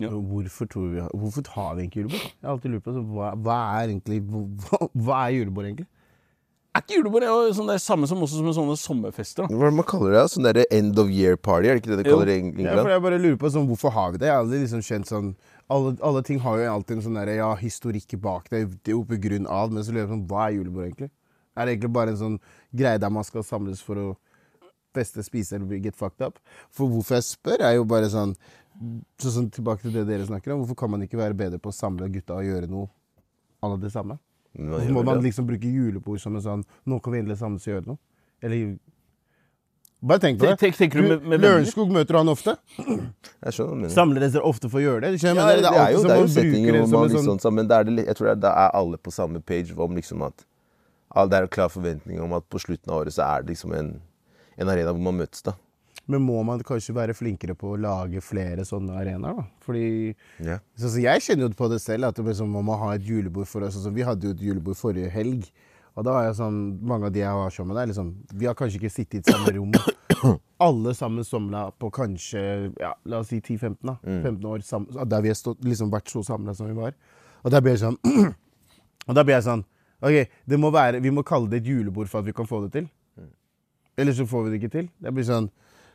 Ja.
Hvorfor, tror vi, hvorfor har vi egentlig julebord? Jeg har alltid lurt på så, hva, hva er egentlig hva, hva er julebord, egentlig?
Er ikke julebord det er jo sånn det er samme som også som sånne sommerfester? da?
Hva er det man kaller det? da? Sånn derre end of year party? Er det ikke det de
Jo.
kaller det i Eng-
Ja, for
England?
jeg bare lurer på sånn, Hvorfor har vi det? Jeg har aldri liksom kjent sånn alle, alle ting har jo alltid en sånn der, ja, historikk bak det, det er jo på grunn av, men så lurer jeg på sånn, hva er julebord egentlig? Er det egentlig bare en sånn greie der man skal samles for å feste, spise eller get fucked up? For hvorfor jeg spør, er jo bare sånn så sånn Tilbake til det dere snakker om. Hvorfor kan man ikke være bedre på å samle gutta og gjøre noe à la det samme?
Nå
Hvorfor
gjør
må
vi
man
det.
liksom bruke julebord som en sånn Nå kan vi endelig samles og gjøre noe? Eller Bare tenk på det.
Tenk- tenker du med- med venner?
Lørenskog møter han ofte.
Jeg skjønner hva du mener.
Samler dere ofte for å gjøre det? Du skjønner,
Ja,
hva jeg mener? det, er jo,
det er jo
alltid som man
settinger
bruker det
hvor
som
man
en
liksom
sånn
sammen- da er det litt- Jeg tror det er, da er alle på samme page om liksom at all- Det er en klar forventning om at på slutten av året så er det liksom en, en arena hvor man møtes, da.
Men må man kanskje være flinkere på å lage flere sånne arenaer, da? Fordi
Ja.
så, så Jeg kjenner jo på det selv, at det blir sånn, man må ha et julebord for oss. Sånn, som vi hadde jo et julebord forrige helg. Og da har jeg sånn, Mange av de jeg har sammen med deg, liksom, vi har kanskje ikke sittet i et samme rom. Alle sammen somla på kanskje ja, la oss si 10-15 da, 15 år, sam- der vi har stått, liksom vært så samla som vi var. Og da blir jeg sånn Og da blir jeg sånn Ok, det må være, vi må kalle det et julebord for at vi kan få det til. Ellers så får vi det ikke til. Det blir sånn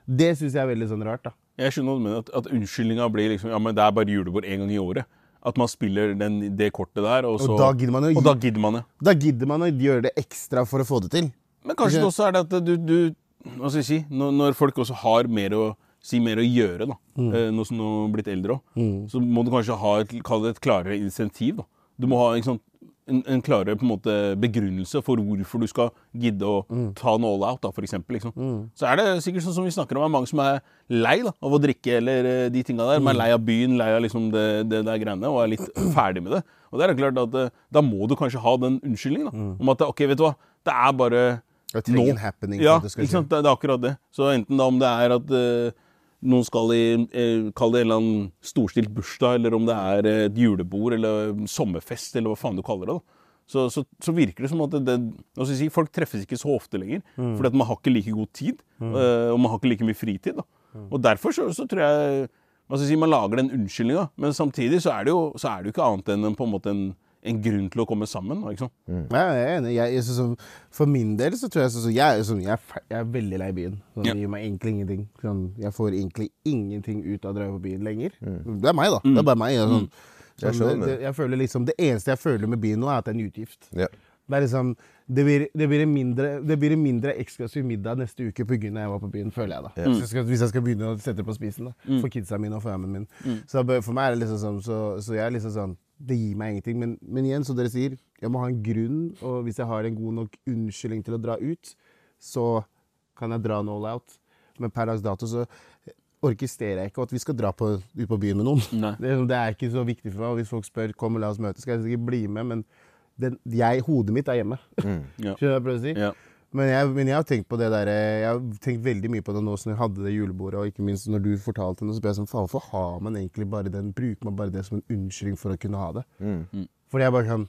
Det syns jeg er veldig sånn rart, da.
Jeg skjønner hva du mener, at, at unnskyldninga blir liksom Ja, men det er bare julebord én gang i året. At man spiller den, det kortet der, og så
da gidder man jo-
Og da gidder man det.
Da gidder man å gjøre det ekstra for å få det til.
Men kanskje det
Ikke-
også er det at du, du Hva skal jeg si Når, når folk også har mer å si mer å gjøre, da, eh, nå som du har blitt eldre òg, så må du kanskje ha et, kall det et klarere insentiv. da. Du må ha ikke sant, en, en klarere på en måte, begrunnelse for hvorfor du skal gidde å ta en all out, da, for eksempel, liksom. Så er det sikkert sånn som vi snakker om, er mange som er lei da, av å drikke eller eh, de tinga der. De er lei av byen, lei av liksom det, det der greiene, og er litt ferdig med det. Og det er klart at eh, Da må du kanskje ha den unnskyldningen da, om at ok, vet du hva, det er bare
Jeg trenger
nå.
en happening for
Ja,
at det skal
ikke sant? Det, det er akkurat det. Så enten da om det er at eh, noen skal i eh, Kall det en eller annen storstilt bursdag, eller om det er eh, et julebord eller sommerfest, eller hva faen du kaller det. da. Så, så, så virker det som at det, det, hva skal jeg si, folk treffes ikke så ofte lenger.
Mm.
Fordi at man har ikke like god tid, eh, og man har ikke like mye fritid. da.
Mm.
Og derfor så, så tror jeg hva skal jeg si, Man lager den unnskyldninga, men samtidig så er det jo, så er det jo ikke annet enn en, på en, måte en, en grunn til å komme sammen. da, ikke sant?
Mm.
Ja, jeg er enig. Jeg, jeg, synes som- for min del så tror jeg sånn som- jeg, er sånn- jeg, er fe- jeg er veldig lei byen. Sånn,
Ja.
Det gir meg egentlig ingenting. Sånn, jeg får egentlig ingenting ut av å dra på byen lenger. Det er meg, da. Det er bare meg. Jeg, er sånn,
Mm. Jeg
sånn,
skjønner.
det, det, jeg føler liksom, det eneste jeg føler med byen nå, er at det er en utgift.
Ja.
Det, er liksom, det, blir, det, blir en mindre, det blir en mindre eksklusiv middag neste uke pga. jeg var på byen, føler jeg. da. Hvis, jeg skal, hvis jeg skal begynne å sette det på spisen da, for kidsa mine og for jammen min. Så jeg bør- for meg er det liksom sånn, så, så jeg er liksom sånn, det gir meg ingenting. Men, men igjen, som dere sier, jeg må ha en grunn, og hvis jeg har en god nok unnskyldning til å dra ut, så kan jeg dra en all out. Men per dags dato så orkestrerer jeg ikke at vi skal dra på, ut på byen med noen.
Nei.
Det, er- det er ikke så viktig for meg. og Hvis folk spør kom og la oss møtes, skal jeg sikkert bli med, men den, jeg, hodet mitt er hjemme.
Ja.
Skjønner du hva jeg prøver å si?
Mm. Ja.
Men, jeg, men jeg har tenkt på det der, eh, jeg har tenkt veldig mye på det nå som jeg hadde det julebordet, og ikke minst når du fortalte det, så ble jeg sånn, faen, hvorfor har man egentlig bare den, bruker man bare det som en unnskyldning for å kunne ha det?
Mm.
Fordi jeg bare kan,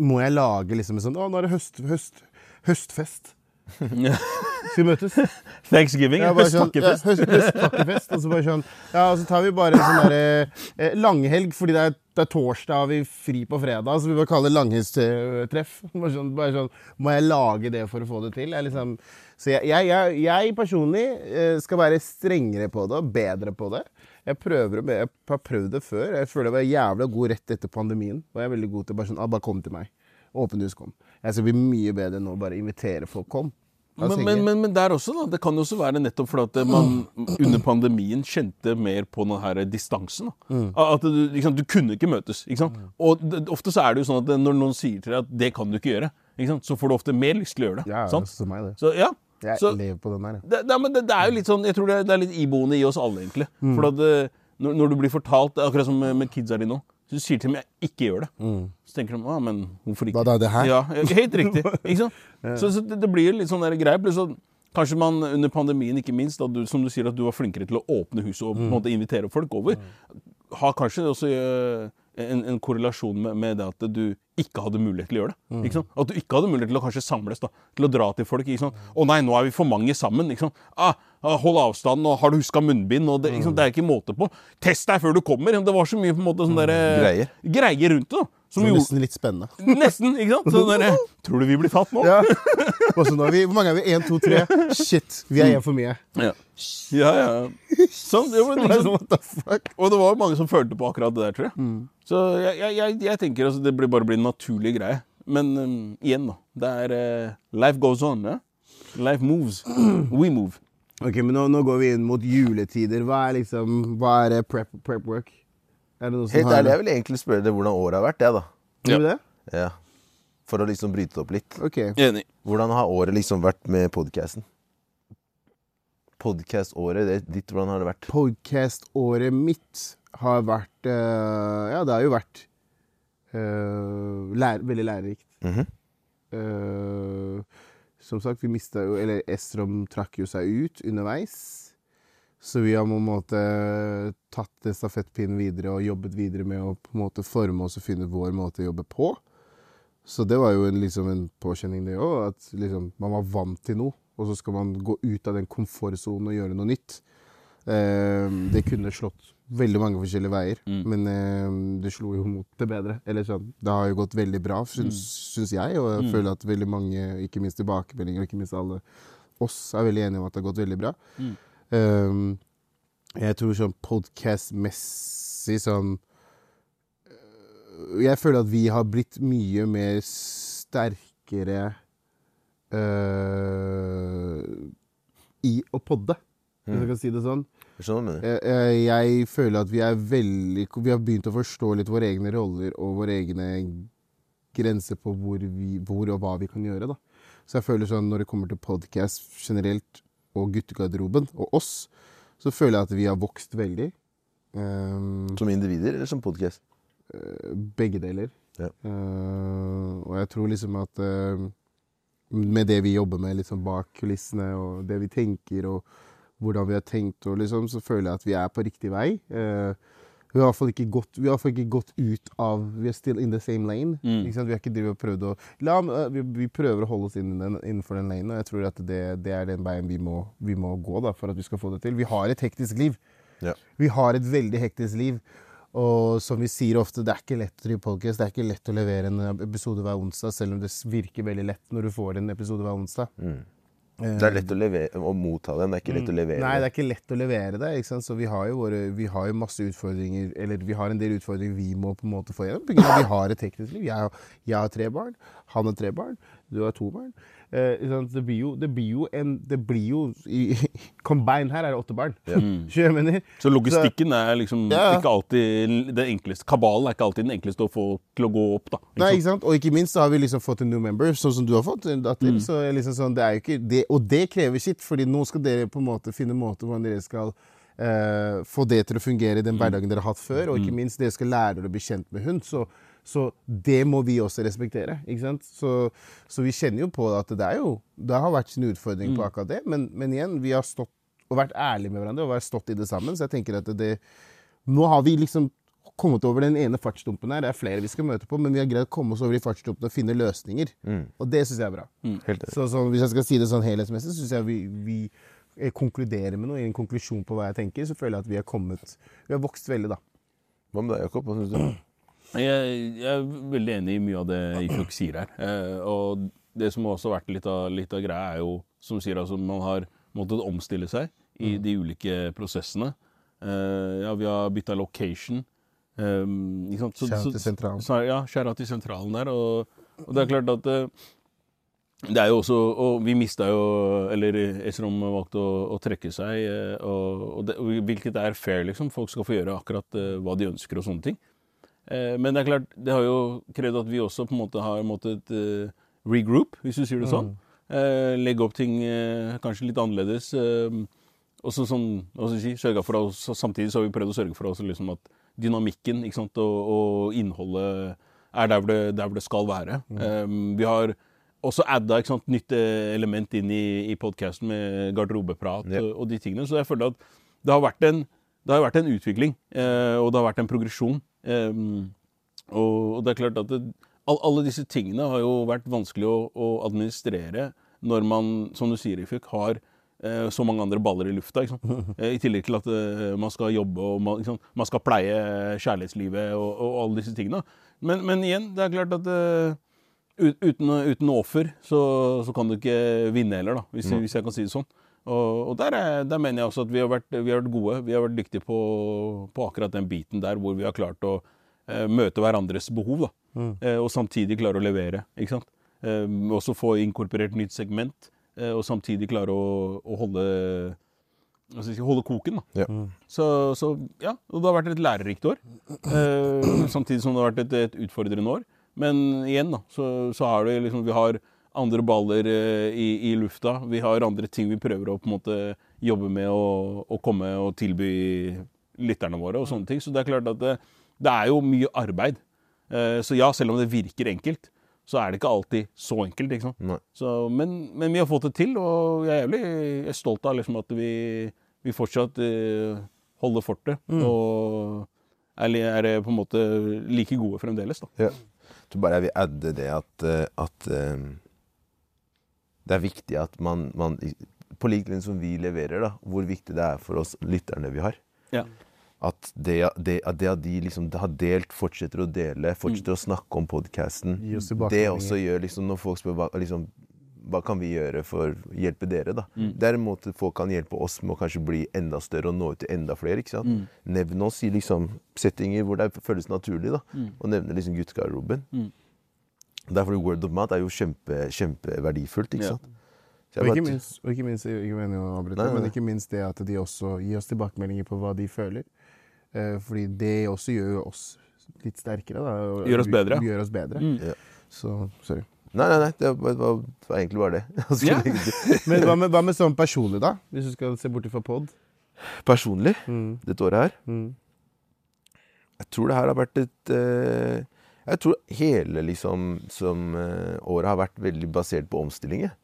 må jeg lage liksom en sånn, å, nå er det høst, høst, høstfest. Skal vi møtes?
Thanksgiving,
Ja, bare sånn, ja,
høsttakkefest.
høst, høsttakkefest. Og så bare sånn Ja, og så tar vi bare en sånn derre eh, langhelg, fordi det er, det er torsdag, og vi er fri på fredag, så vi bare kaller det langhelgstreff. Bare sånn, bare sånn Må jeg lage det for å få det til? Jeg liksom, så jeg, jeg, jeg, jeg personlig eh, skal være strengere på det, og bedre på det. Jeg prøver å be, jeg har prøvd det før. Jeg føler jeg var jævla god rett etter pandemien. Var jeg veldig god til bare sånn ah, Bare kom til meg. Åpent hus, kom. Jeg skal bli mye bedre nå, bare invitere folk, kom. Da
Men,
tenker
men,
jeg-
men, men der også, da. Det kan jo også være nettopp fordi at man under pandemien kjente mer på den her distansen. Da.
Mm.
At du, ikke sant, du kunne ikke møtes. Ikke sant? Og det, ofte så er det jo sånn at når noen sier til deg at det kan du ikke gjøre, ikke sant? så får du ofte mer lyst til å gjøre det.
ja,
sant?
sånn er meg, det.
Så, ja.
Jeg
så,
lever på den der, ja.
det, det, men det, det er jo litt sånn Jeg tror det, det er litt iboende i oss alle, egentlig.
Mm.
For at eh, når, når du blir fortalt, det er akkurat som med, med kidsa dine nå så du sier til dem jeg ikke gjør det. Så tenker de ah, men hvorfor ikke?
Mm. Hva da, det her?
Ja, ja, Helt riktig. ikke sant? Så, så det, det blir jo litt sånn der greie. Pluss at kanskje man under pandemien, ikke minst, at du, som du sier, at du var flinkere til å åpne huset og på
Mm.
en måte invitere folk over, har kanskje også eh, en, en korrelasjon med, med det at du ikke hadde mulighet til å gjøre det.
Mm.
Ikke sant? At du ikke hadde mulighet til å kanskje samles, da, til å dra til folk. Ikke sant? 'Å nei, nå er vi for mange sammen.' Ikke sant? Ah, ah, Hold avstanden, og har du huska munnbind? Og det, ikke
Mm.
sant, det er ikke måte på. Test deg før du kommer! Det var så mye på en måte sånne der, eh,
Greier.
greier rundt det. da, Som
Mm. Det er
gjorde
nesten litt spennende.
Nesten, ikke sant? Sånn der, Tror du vi blir tatt nå?
Ja. Og så nå er vi, hvor mange er vi? Én, to, tre. Shit, vi er én for mye.
Ja, ja. ja. Sånn, det var,
Bare
liksom,
sånn, what the fuck?
og det var mange som følte på akkurat det der, tror jeg. Så jeg, jeg, jeg, jeg tenker altså, det blir bare blir en naturlig greie. Men um, igjen, da. Det er eh, Life goes on. Ja? Life moves. We move.
Ok, men nå, nå går vi inn mot juletider. Hva er liksom, hva er eh, prep, prep work? Er det noe som
Helt
har
ærlig, jeg vil egentlig spørre deg hvordan året har vært, jeg, da.
Gjør vi det?
Ja. For å liksom bryte det opp litt.
Ok.
Enig.
Hvordan har året liksom vært med podcasten? Podcast-året det- ditt, hvordan har det vært?
Podcast-året mitt har vært eh, Ja, det har jo vært eh, lær, veldig lærerikt.
Mhm.
Eh, som sagt, vi mista jo Eller Estrom trakk jo seg ut underveis. Så vi har på en måte tatt det stafettpinnen videre og jobbet videre med å på en måte forme oss og finne vår måte å jobbe på. Så det var jo en, liksom en påkjenning, det òg. At liksom, man var vant til noe, og så skal man gå ut av den komfortsonen og gjøre noe nytt. Eh, det kunne slått veldig mange forskjellige veier, men eh, det slo jo mot det bedre. Eller sånn, det har jo gått veldig bra, syns, syns jeg, og jeg føler at veldig mange, ikke minst tilbakemeldinger, og ikke minst alle oss, er veldig enige om at det har gått veldig bra. Eh, jeg tror sånn podcast-messig sånn øh, jeg føler at vi har blitt mye mer sterkere øh, i å podde, hvis jeg kan si det sånn.
Skjønner du hva jeg mener?
Jeg, jeg- eh, jeg føler at vi er veldig Vi har begynt å forstå litt våre egne roller og våre egne grenser på hvor, vi, hvor og hva vi kan gjøre. Da. Så jeg føler sånn når det kommer til podkast generelt, og guttegarderoben, og oss, så føler jeg at vi har vokst veldig. Um,
Som individer eller som podcast?
begge deler.
Ja.
Eh, og jeg tror liksom at eh, med det vi jobber med liksom bak kulissene, og det vi tenker, og hvordan vi har tenkt, og liksom, så føler jeg at vi er på riktig vei. Eh, vi har i hvert fall ikke gått, vi har i hvert fall ikke gått ut av We are still in the same lane. Ikke sant? Vi har ikke drevet og prøvd å la, eh, vi, vi prøver å holde oss innen den, innenfor den lanen, og jeg tror at det, det er den veien vi må, vi må gå da, for at vi skal få det til. Vi har et hektisk liv.
Ja.
Vi har et veldig hektisk liv. Og som vi sier ofte, det er ikke lett å drive podcast. Det er ikke lett å levere en episode hver onsdag, selv om det virker veldig lett når du får en episode hver onsdag.
Det er lett å, levere, å motta den, det er ikke lett å levere
Eh. Mm. Nei, det
den.
er ikke lett å levere det. Ikke sant? Så vi har jo, våre, vi har jo masse utfordringer, eller vi har en del utfordringer vi må på en måte få gjennom. på grunn av at Vi har et teknisk liv. Jeg, har- jeg har tre barn, han har tre barn, du har to barn. Eh, ikke sant? det, blir jo, det blir jo en Det blir jo i, Combined her er det åtte barn. Skjønner du hva jeg mener?
Så logistikken er liksom
Ja, ja.
ikke alltid det enkleste. Kabalen er ikke alltid den enkleste å få til å gå opp, da.
Nei, ikke sant? Og ikke minst så har vi liksom fått en new member, sånn som du har fått. en datter, så er liksom sånn, det er jo ikke det, Og det krever sitt, fordi nå skal dere på en måte finne måter hvordan dere skal eh, få det til å fungere i den hverdagen dere har hatt før. Og ikke minst, dere skal lære dere å bli kjent med hund. Så, så det må vi også respektere. ikke sant? Så, så vi kjenner jo på at det er jo, det har vært sin utfordring på akkurat det, men, men igjen, vi har stått og vært ærlige med hverandre og vært stått i det sammen. Så jeg tenker at det, nå har vi liksom kommet over den ene fartsdumpen her. Det er flere vi skal møte på, men vi har greid å komme oss over i fartsdumpene og finne løsninger. Og det syns jeg er bra.
Mm. Helt enig.
Så, så hvis jeg skal si det sånn helhetsmessig, syns jeg vi, vi eh, konkluderer med noe. I en konklusjon på hva jeg tenker, så føler jeg at vi har kommet Vi har vokst veldig, da.
Hva med deg, Jakob? Hva synes
Mm.
du?
Jeg, jeg er veldig enig i mye av det Ifjok sier her. Eh, og det som også har vært litt av, litt av greia, er jo, som sier altså, man har måttet omstille seg i
Mm.
de ulike prosessene. Eh, ja, vi har bytta location. Um, ikke sant? Så-
Shout
så-
til sentralen.
Så, ja, skjæra til sentralen der. Og, og det er klart at eh, det er jo også Og vi mista jo Eller Esrom valgte å, å trekke seg, eh, og, og det, og hvilket er fair, liksom. Folk skal få gjøre akkurat eh, hva de ønsker og sånne ting. Eh, Men det er klart, det har jo krevd at vi også på en måte har måttet eh, regroup, hvis du sier det sånn. Eh, legge opp ting eh, kanskje litt annerledes. eh, og så sånn, hva skal jeg si, sørget for oss, og Samtidig så har vi prøvd å sørge for oss, liksom at dynamikken ikke sant, og, og innholdet er der hvor det, der hvor det skal være. Eh, vi har også adda ikke sant, nytt eh, element inn i, i podkasten med garderobeprat
Ja.
og, og de tingene. Så jeg føler at det har vært en, det har vært en utvikling, eh, og det har vært en progresjon. Eh, og, og det er klart at det, all, alle disse tingene har jo vært vanskelig å, å administrere når man, som du sier, Ifuk, har eh, så mange andre baller i lufta. Ikke sant? Eh, I tillegg til at eh, man skal jobbe og man, ikke sant? man skal pleie kjærlighetslivet og, og alle disse tingene. Men, men igjen, det er klart at eh, ut- uten, uten noe offer så, så kan du ikke vinne heller, da, hvis, hvis jeg kan si det sånn. Og, og der, er, der mener jeg også at vi har vært, vi har vært gode. Vi har vært dyktige på, på akkurat den biten der hvor vi har klart å eh, møte hverandres behov. Da. Eh, og samtidig klare å levere. Ikke sant? Eh, også få inkorporert nytt segment, eh, og samtidig klare å, å holde hva skal jeg si, holde koken. da.
Ja.
Mm.
Så, så ja, og det har vært et lærerikt år. Eh, samtidig som det har vært et, et utfordrende år. Men igjen, da, så, så har det liksom Vi har andre baller eh, i, i lufta. Vi har andre ting vi prøver å på en måte jobbe med og, og komme og tilby lytterne våre og sånne ting. Så det er klart at det, det er jo mye arbeid. Eh, så ja, selv om det virker enkelt, så er det ikke alltid så enkelt. ikke sant?
Nei.
Så, men, men vi har fått det til, og jeg er jævlig jeg er stolt av liksom at vi, vi fortsatt eh, holder fortet. Og er, li- er på en måte like gode fremdeles, da.
Ja. Jeg tror bare jeg vil adde det at, eh, at eh, det er viktig at man, man På lik linje som vi leverer, da, hvor viktig det er for oss lytterne vi har.
Ja.
At det at, det, at det at de liksom har delt, fortsetter å dele,
Mm.
fortsetter å snakke om podkasten.
Gi oss tilbakemeldinger.
Det også gjør liksom Når folk spør hva, liksom, hva kan vi gjøre for å hjelpe dere, da.
Mm.
Det er en måte folk kan hjelpe oss med å kanskje bli enda større og nå ut til enda flere. ikke sant?
Mm.
Nevn oss i liksom settinger hvor det føles naturlig, da.
Mm.
Og nevne liksom guttegarderoben. Derfor word of mouth er jo kjempe, kjempeverdifullt, ikke
Ja.
sant? Så jeg
Og
bare-
ikke minst, og ikke minst, ikke meningen å avbryte,
Nei, nei,
men
nei.
ikke minst det at de også gir oss tilbakemeldinger på hva de føler. Eh, fordi det også gjør jo oss litt sterkere. Da, og
Gjør oss
vi-
bedre.
Gjør oss bedre.
Ja.
Så sorry.
Nei, nei, nei, det var, var, var egentlig bare det. Jeg skulle
Ja.
legge til.
Men hva med, hva med sånn personlig, da? Hvis du skal se bort fra pod?
Personlig,
Mm.
dette året her
Mm.
Jeg tror det her har vært et eh, Jeg tror hele liksom som eh, året har vært veldig basert på omstilling. jeg.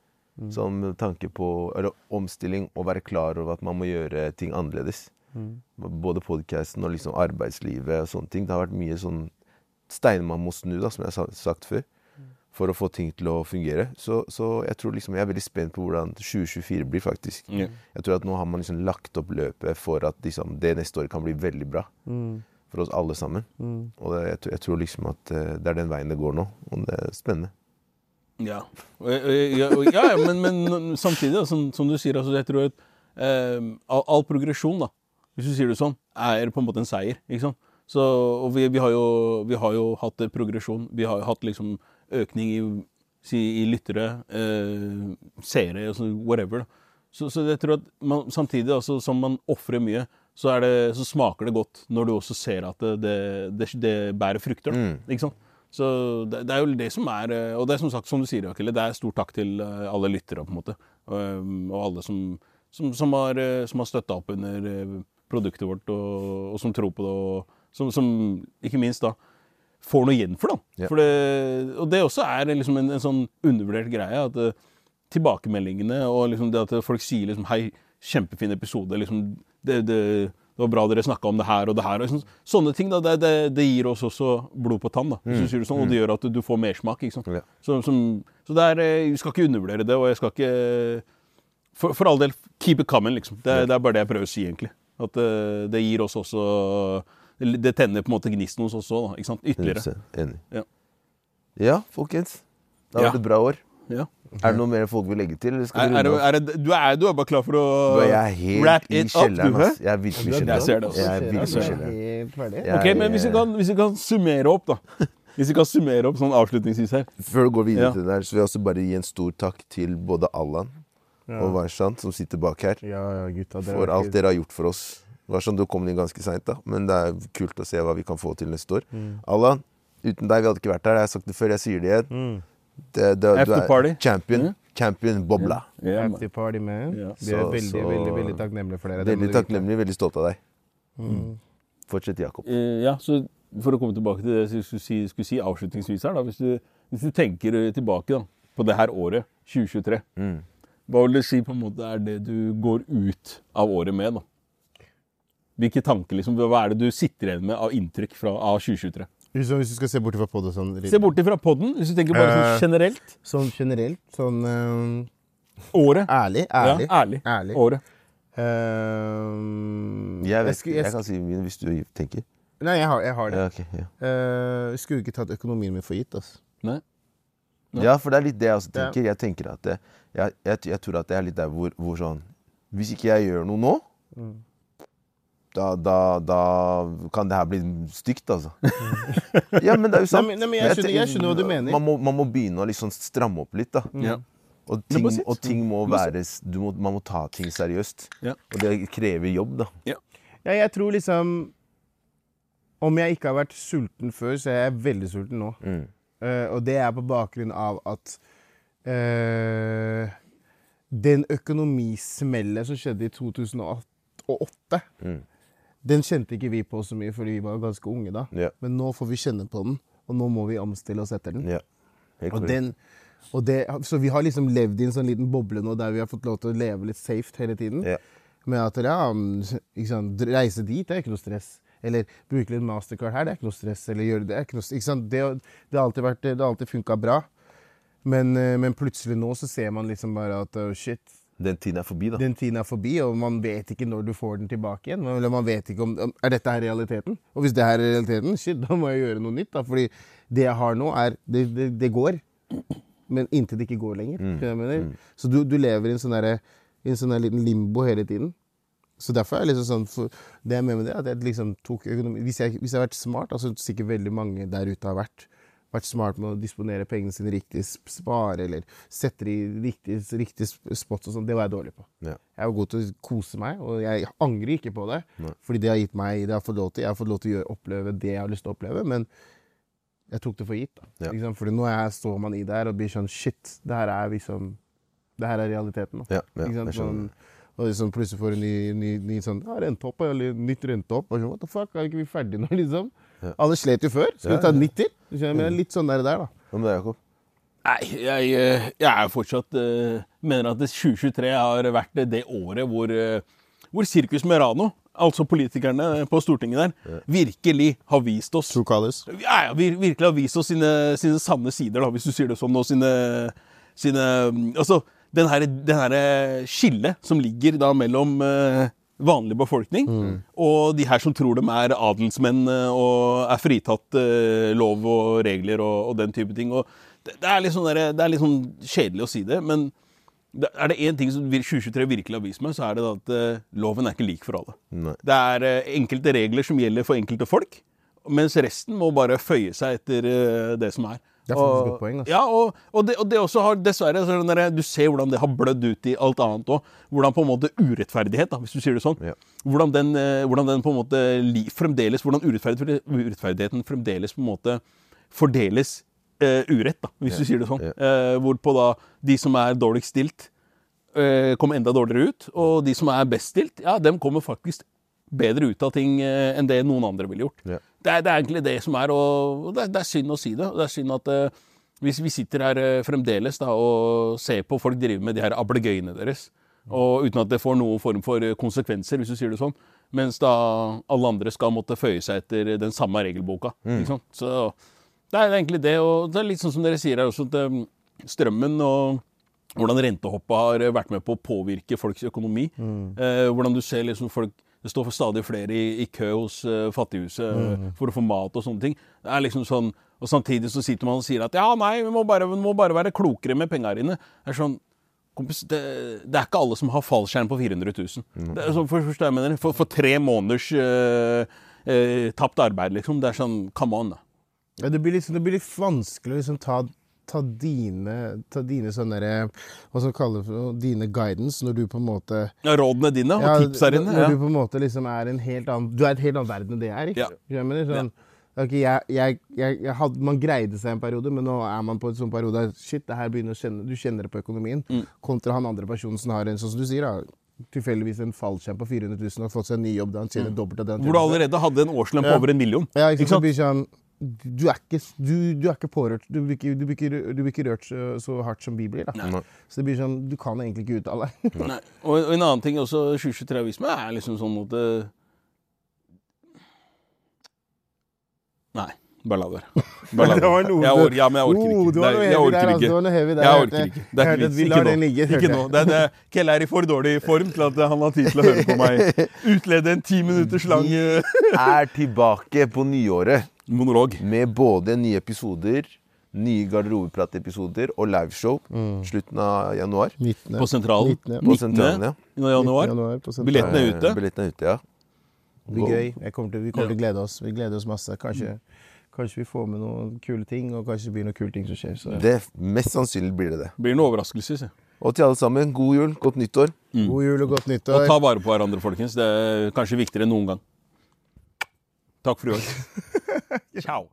Som tanke på Eller omstilling og være klar over at man må gjøre ting annerledes.
mm,
Både podkasten og liksom arbeidslivet og sånne ting. Det har vært mye sånn steiner man må snu, da, som jeg har sa- sagt før. For å få ting til å fungere. Så, så jeg tror liksom jeg er veldig spent på hvordan 2024 blir, faktisk.
Ja.
Jeg tror at nå har man liksom lagt opp løpet for at liksom, det neste året kan bli veldig bra.
mm,
For oss alle sammen. Og det, jeg, tror- jeg tror liksom at eh, det er den veien det går nå. Og det er spennende.
Ja, Og- og- ja, og- ja, ja men, men samtidig, da, som, som du sier, altså, jeg tror at eh, all, all progresjon, da, hvis du sier det sånn, er på en måte en seier. Ikke sant? Så, og vi, vi, har jo, vi har jo hatt eh, progresjon. Vi har jo hatt liksom økning i, si, i lyttere, eh, seere, altså, whatever. Da. Så, så jeg tror at man, samtidig altså, som man ofrer mye, så, er det, så smaker det godt når du også ser at det, det, det, det bærer frukter. Da. Ikke sant? Så det, det er jo det som er eh, Og det er som sagt, som du sier, Akille, det er stor takk til eh, alle lyttere, på en måte. Um, Og alle som, som, som har, eh, som har støtta opp under eh, produktet vårt, og, og som tror på det, og som, som ikke minst da får noe igjen for
Ja.
det. For det og det også er liksom en, en sånn undervurdert greie. at eh, Tilbakemeldingene og liksom det at folk sier liksom, 'hei, kjempefin episode', liksom, det, det, 'det var bra dere snakka om det her og det her'. Og liksom, sånne ting da, det, det, det gir oss også blod på tann, da, hvis du sier det sånn, og det gjør at du får mersmak. ikke sant?
Mm. Ja.
Så, som, så det er, eh, vi skal ikke undervurdere det, og jeg skal ikke For, for all del, keep it coming, liksom. Det, er- det er bare det jeg prøver å si, egentlig. At eh, det gir oss også det- Det tenner på en måte gnisten hos oss òg, ikke sant? Ytterligere.
100% Enig.
Ja.
Ja, folkens. Det har
Ja.
vært et bra år.
Ja.
Er det noe mer folk vil legge til? Eller skal
Er,
vi
er,
runde av?
er, det- du, er, du er bare klar for å
Jeg er helt
wrap
i
it up, du,
kjelleren. altså.
hæ?
ass. Jeg er virkelig i
Jeg ser
kjelleren.
det også.
Jeg er virkelig i
Jeg ser
kjelleren.
ferdig.
Jeg
Ok, men hvis vi,
er-
kan, hvis vi kan summere opp, da. Hvis vi kan summere opp sånn avslutningsvis her.
Før du går videre
Ja.
til det der, så vil jeg også bare gi en stor takk til både Allan og Warshan, som sitter bak her,
Ja, ja, gutta. Dere
for
er
alt
ikke-
dere har gjort for oss. Warshan, du kom inn ganske seint, da, men det er kult å se hva vi kan få til neste år.
Mm.
Allan, uten deg vi hadde ikke vært her. Jeg har sagt det før, jeg sier det igjen.
Mm.
Det, det, du
After
er
party.
champion. Champion Bobla.
Ja,
Happy party, man.
Ja.
Vi er
Så-
veldig,
så-
veldig veldig takknemlige for dere. Det må
Veldig
du vite.
takknemlig, veldig stolt av deg.
Mm.
Fortsett, Jakob.
eh, så For å komme tilbake til det jeg skulle si, skulle si avslutningsvis her, da. Hvis du, hvis du tenker eh, tilbake da, på det her året, 2023,
Mm.
hva vil du si på en måte er det du går ut av året med? da? Hvilke tanker, liksom, Hva er det du sitter igjen med av inntrykk fra, av 2023?
Hvis hvis du skal se bort fra pod og sånn Eh,
Se bort ifra podden, hvis du tenker bare sånn generelt.
Sånn generelt, sånn eh,
Året.
Ærlig, ærlig.
Ja, ærlig.
Ærlig.
Året.
Ehm,
Jeg, vet,
skulle-
jeg, kan si min hvis du tenker.
Nei, jeg har, jeg har det.
Ja, ok, ja.
Eh, jeg skulle ikke tatt økonomien min for gitt. Altså.
Nei.
ja, for det er litt det jeg også
Ja.
tenker. Jeg tenker at det, jeg, jeg, jeg tror at det er litt der hvor, hvor sånn Hvis ikke jeg gjør noe nå,
Mm.
da, da, da kan det her bli stygt, altså. ja, men det er jo sant.
Mm. Nei, men- nei, men jeg skjønner- jeg skjønner hva du mener. Mm.
Man må, man må begynne å liksom stramme opp litt, da.
Ja.
Og
Det er
ting,
bare sitt.
og ting må
Det er
være s- du må, Man må ta ting seriøst.
Ja.
Og det krever jobb, da.
Ja, jeg tror liksom Om jeg ikke har vært sulten før, så er jeg veldig sulten nå. Eh, og det er på bakgrunn av at eh, den økonomismellet som skjedde i 2008, den kjente ikke vi på så mye, fordi vi var ganske unge da.
Ja.
Men nå får vi kjenne på den, og nå må vi omstille oss etter den.
Ja. Helt
Og
korrekt.
den, og det, så vi har liksom levd i en sånn liten boble nå der vi har fått lov til å leve litt safe hele tiden.
Ja.
Med at ja, mm, ikke sant, reise dit det er ikke noe stress. Eller bruke litt mastercard her, det er ikke noe stress. Eller gjøre det, det er ikke noe, ikke sant? Det, det har alltid, vært- det har alltid funka bra. Men, eh, men plutselig nå så ser man liksom bare at oh, shit,
Den tiden er forbi, da.
den tiden er forbi, og man vet ikke når du får den tilbake igjen. Eller man vet ikke om, om Er dette her realiteten? Og hvis det her er realiteten, shit, da må jeg gjøre noe nytt. da, fordi det jeg har nå, er Det, det, det går. Men inntil det ikke går lenger.
Mm.
skjønner du hva jeg mener? Så du, du lever i en sånn derre- i en sånn der liten limbo hele tiden. Så derfor er jeg liksom sånn, for det jeg mener med det, er at jeg liksom tok økonomi hvis jeg, hvis jeg har vært smart, altså sikkert veldig mange der ute har vært, vært smart med å disponere pengene sine riktig, sp- spare eller sette det i riktig, riktig sp- spot og sånn, det var jeg dårlig på.
Ja.
Jeg var god til å kose meg, og jeg angrer ikke på det. Fordi det har gitt meg, det har jeg fått lov til. Jeg har fått lov til å gjøre, oppleve det jeg har lyst til å oppleve, men jeg tok det for gitt. da.
Ja.
Ikke sant? Fordi nå er jeg, står man i der og blir sånn Shit, det her er liksom Det her er realiteten. da.
Ja, ja,
ikke
jeg
sant?
skjønner.
Man, og liksom plutselig får du en ny, ny, ny sånn ja, rentehopp, eller nytt rentehopp. Og sånn, What the fuck, er ikke vi ferdige nå, liksom? Alle slet jo før. Skal vi ta nytt til? Du skjønner,
Mm.
men Litt sånn der, der da.
Hva med deg, Jakob?
Nei, jeg, eh, jeg er fortsatt eh, Mener at det 2023 har vært det- det året hvor, eh, hvor Sirkus Merano, altså politikerne på Stortinget der, virkelig har vist oss
True colors.
ja, ja, vir virkelig har vist oss sine, sine sanne sider, da, hvis du sier det sånn, og sine, sine mm, Altså, den her, den her skillet som ligger da mellom eh, vanlig befolkning og de her som tror de er adelsmenn eh, og er fritatt eh, lov og regler og, og den type ting. Og det, det, er litt sånn derre- det er litt sånn kjedelig å si det, men det- er det én ting som vir- 2023 virkelig har vist meg, så er det da at eh, loven er ikke lik for alle.
Nei.
Det er eh, enkelte regler som gjelder for enkelte folk, mens resten må bare føye seg etter eh, det som er.
Det er faktisk et godt poeng, altså.
Ja, og, og, det, og det også har dessverre så er det den derre- Du ser hvordan det har blødd ut i alt annet òg. Hvordan på en måte urettferdighet, da, hvis du sier det sånn
Ja.
hvordan, den, eh, hvordan den på en måte li- fremdeles Hvordan urettferdig- urettferdigheten fremdeles på en måte fordeles eh, urett, da, hvis du sier det sånn. Eh, hvorpå da de som er dårligst stilt, eh, kom enda dårligere ut. Og de som er best stilt, ja, dem kommer faktisk bedre ut av ting eh, enn det noen andre ville gjort.
Ja.
Det, er, det er egentlig det som er, og og det, er- det er synd å si det. og Det er synd at eh, hvis vi sitter her eh, fremdeles da, og ser på folk drive med de her ablegøyene deres, og uten at det får noen form for eh, konsekvenser, hvis du sier det sånn, mens da alle andre skal måtte føye seg etter den samme regelboka. Ikke sant? Så det er egentlig det, og det er litt sånn som dere sier her også, at eh, strømmen og hvordan rentehoppet har vært med på å påvirke folks økonomi.
Mm.
Eh, hvordan du ser liksom folk Det står stadig flere i, i kø hos eh, Fattighuset
Mm.
eh, for å få mat og sånne ting. Det er liksom sånn, Og samtidig så sitter man og sier at ja, nei, vi må bare, vi må bare være klokere med penga dine. Det er sånn Kompis, det, det er ikke alle som har fallskjerm på 400 000.
Mm.
Det er sånn, for, forstår jeg hva jeg mener, for, for tre måneders eh, eh, tapt arbeid, liksom. Det er sånn Come on, da.
Ja, det, blir liksom, det blir litt vanskelig å liksom ta, ta dine, ta dine sånne derre- Hva skal man kalle det? for noe, Dine guidance, når du på en måte
Ja, Rådene dine og
Ja,
tipsa dine.
Når
Ja.
du på en måte liksom er en helt annen Du er et helt annen verden enn det jeg er. ikke?
Ja.
Skjønner du hva Jeg mener, sånn, ok, jeg, jeg, jeg, jeg hadde, man greide seg en periode, men nå er man på en sånn periode der shit, det her begynner å kjenne, du kjenner det på økonomien.
Mm.
Kontra han andre personen som har en sånn som du sier, da, tilfeldigvis en fallskjerm på 400 000 og har fått seg en ny jobb. da Han tjener dobbelt av det han
Mm. Hvor du
tjener.
allerede hadde en årslønn på
Ja.
over en million.
Ja, ikke
Ikke sant?
sant? Det blir Sånn, du, er ikke, du, du er ikke pårørt. Du blir ikke, du blir ikke, du blir ikke rørt så, så hardt som vi blir. da. Så det blir sånn, du kan egentlig ikke uttale deg.
Nei. Og, og en annen ting også 2023 har vist meg, er liksom sånn at eh, Nei. Ballader. Ballader.
Det var noe-
jeg, or ja, men jeg orker
Oh,
ikke.
det var noe
Nei,
heavy
jeg orker
der, altså.
ikke.
Det var noe heavy der.
Jeg
Jeg
orker
hørte-
ikke. Det er
jeg
ikke
hørte at
vits.
vi lar
Ikke
den
nå.
ligge, hørte
Ikke nå. Det er, det, Kelle er i for dårlig form til at han har tid til å høre på meg utlede en ti minutters lang eh,
Er tilbake på nyåret
monolog.
med både nye episoder, nye garderobepratepisoder og liveshow
Mm.
slutten av januar.
19.
På Sentralen.
19.
På sentralen, ja.
19. januar.
januar på sentralen.
Billettene er ute.
Billetten Eh, er ute, ja.
Det blir gøy. Jeg kommer til, vi kommer til å glede oss. Vi gleder oss masse. Kanskje, kanskje vi får med noen kule ting, og kanskje det blir noen kule ting som skjer. Så.
Mm.
Det, mest sannsynlig blir det det.
Blir en overraskelse. se.
Og til alle sammen, god jul, godt nyttår.
God jul og godt
Og
nyttår.
ta vare på hverandre, folkens. Det er kanskje viktigere enn noen gang. Takk for i år. Ciao.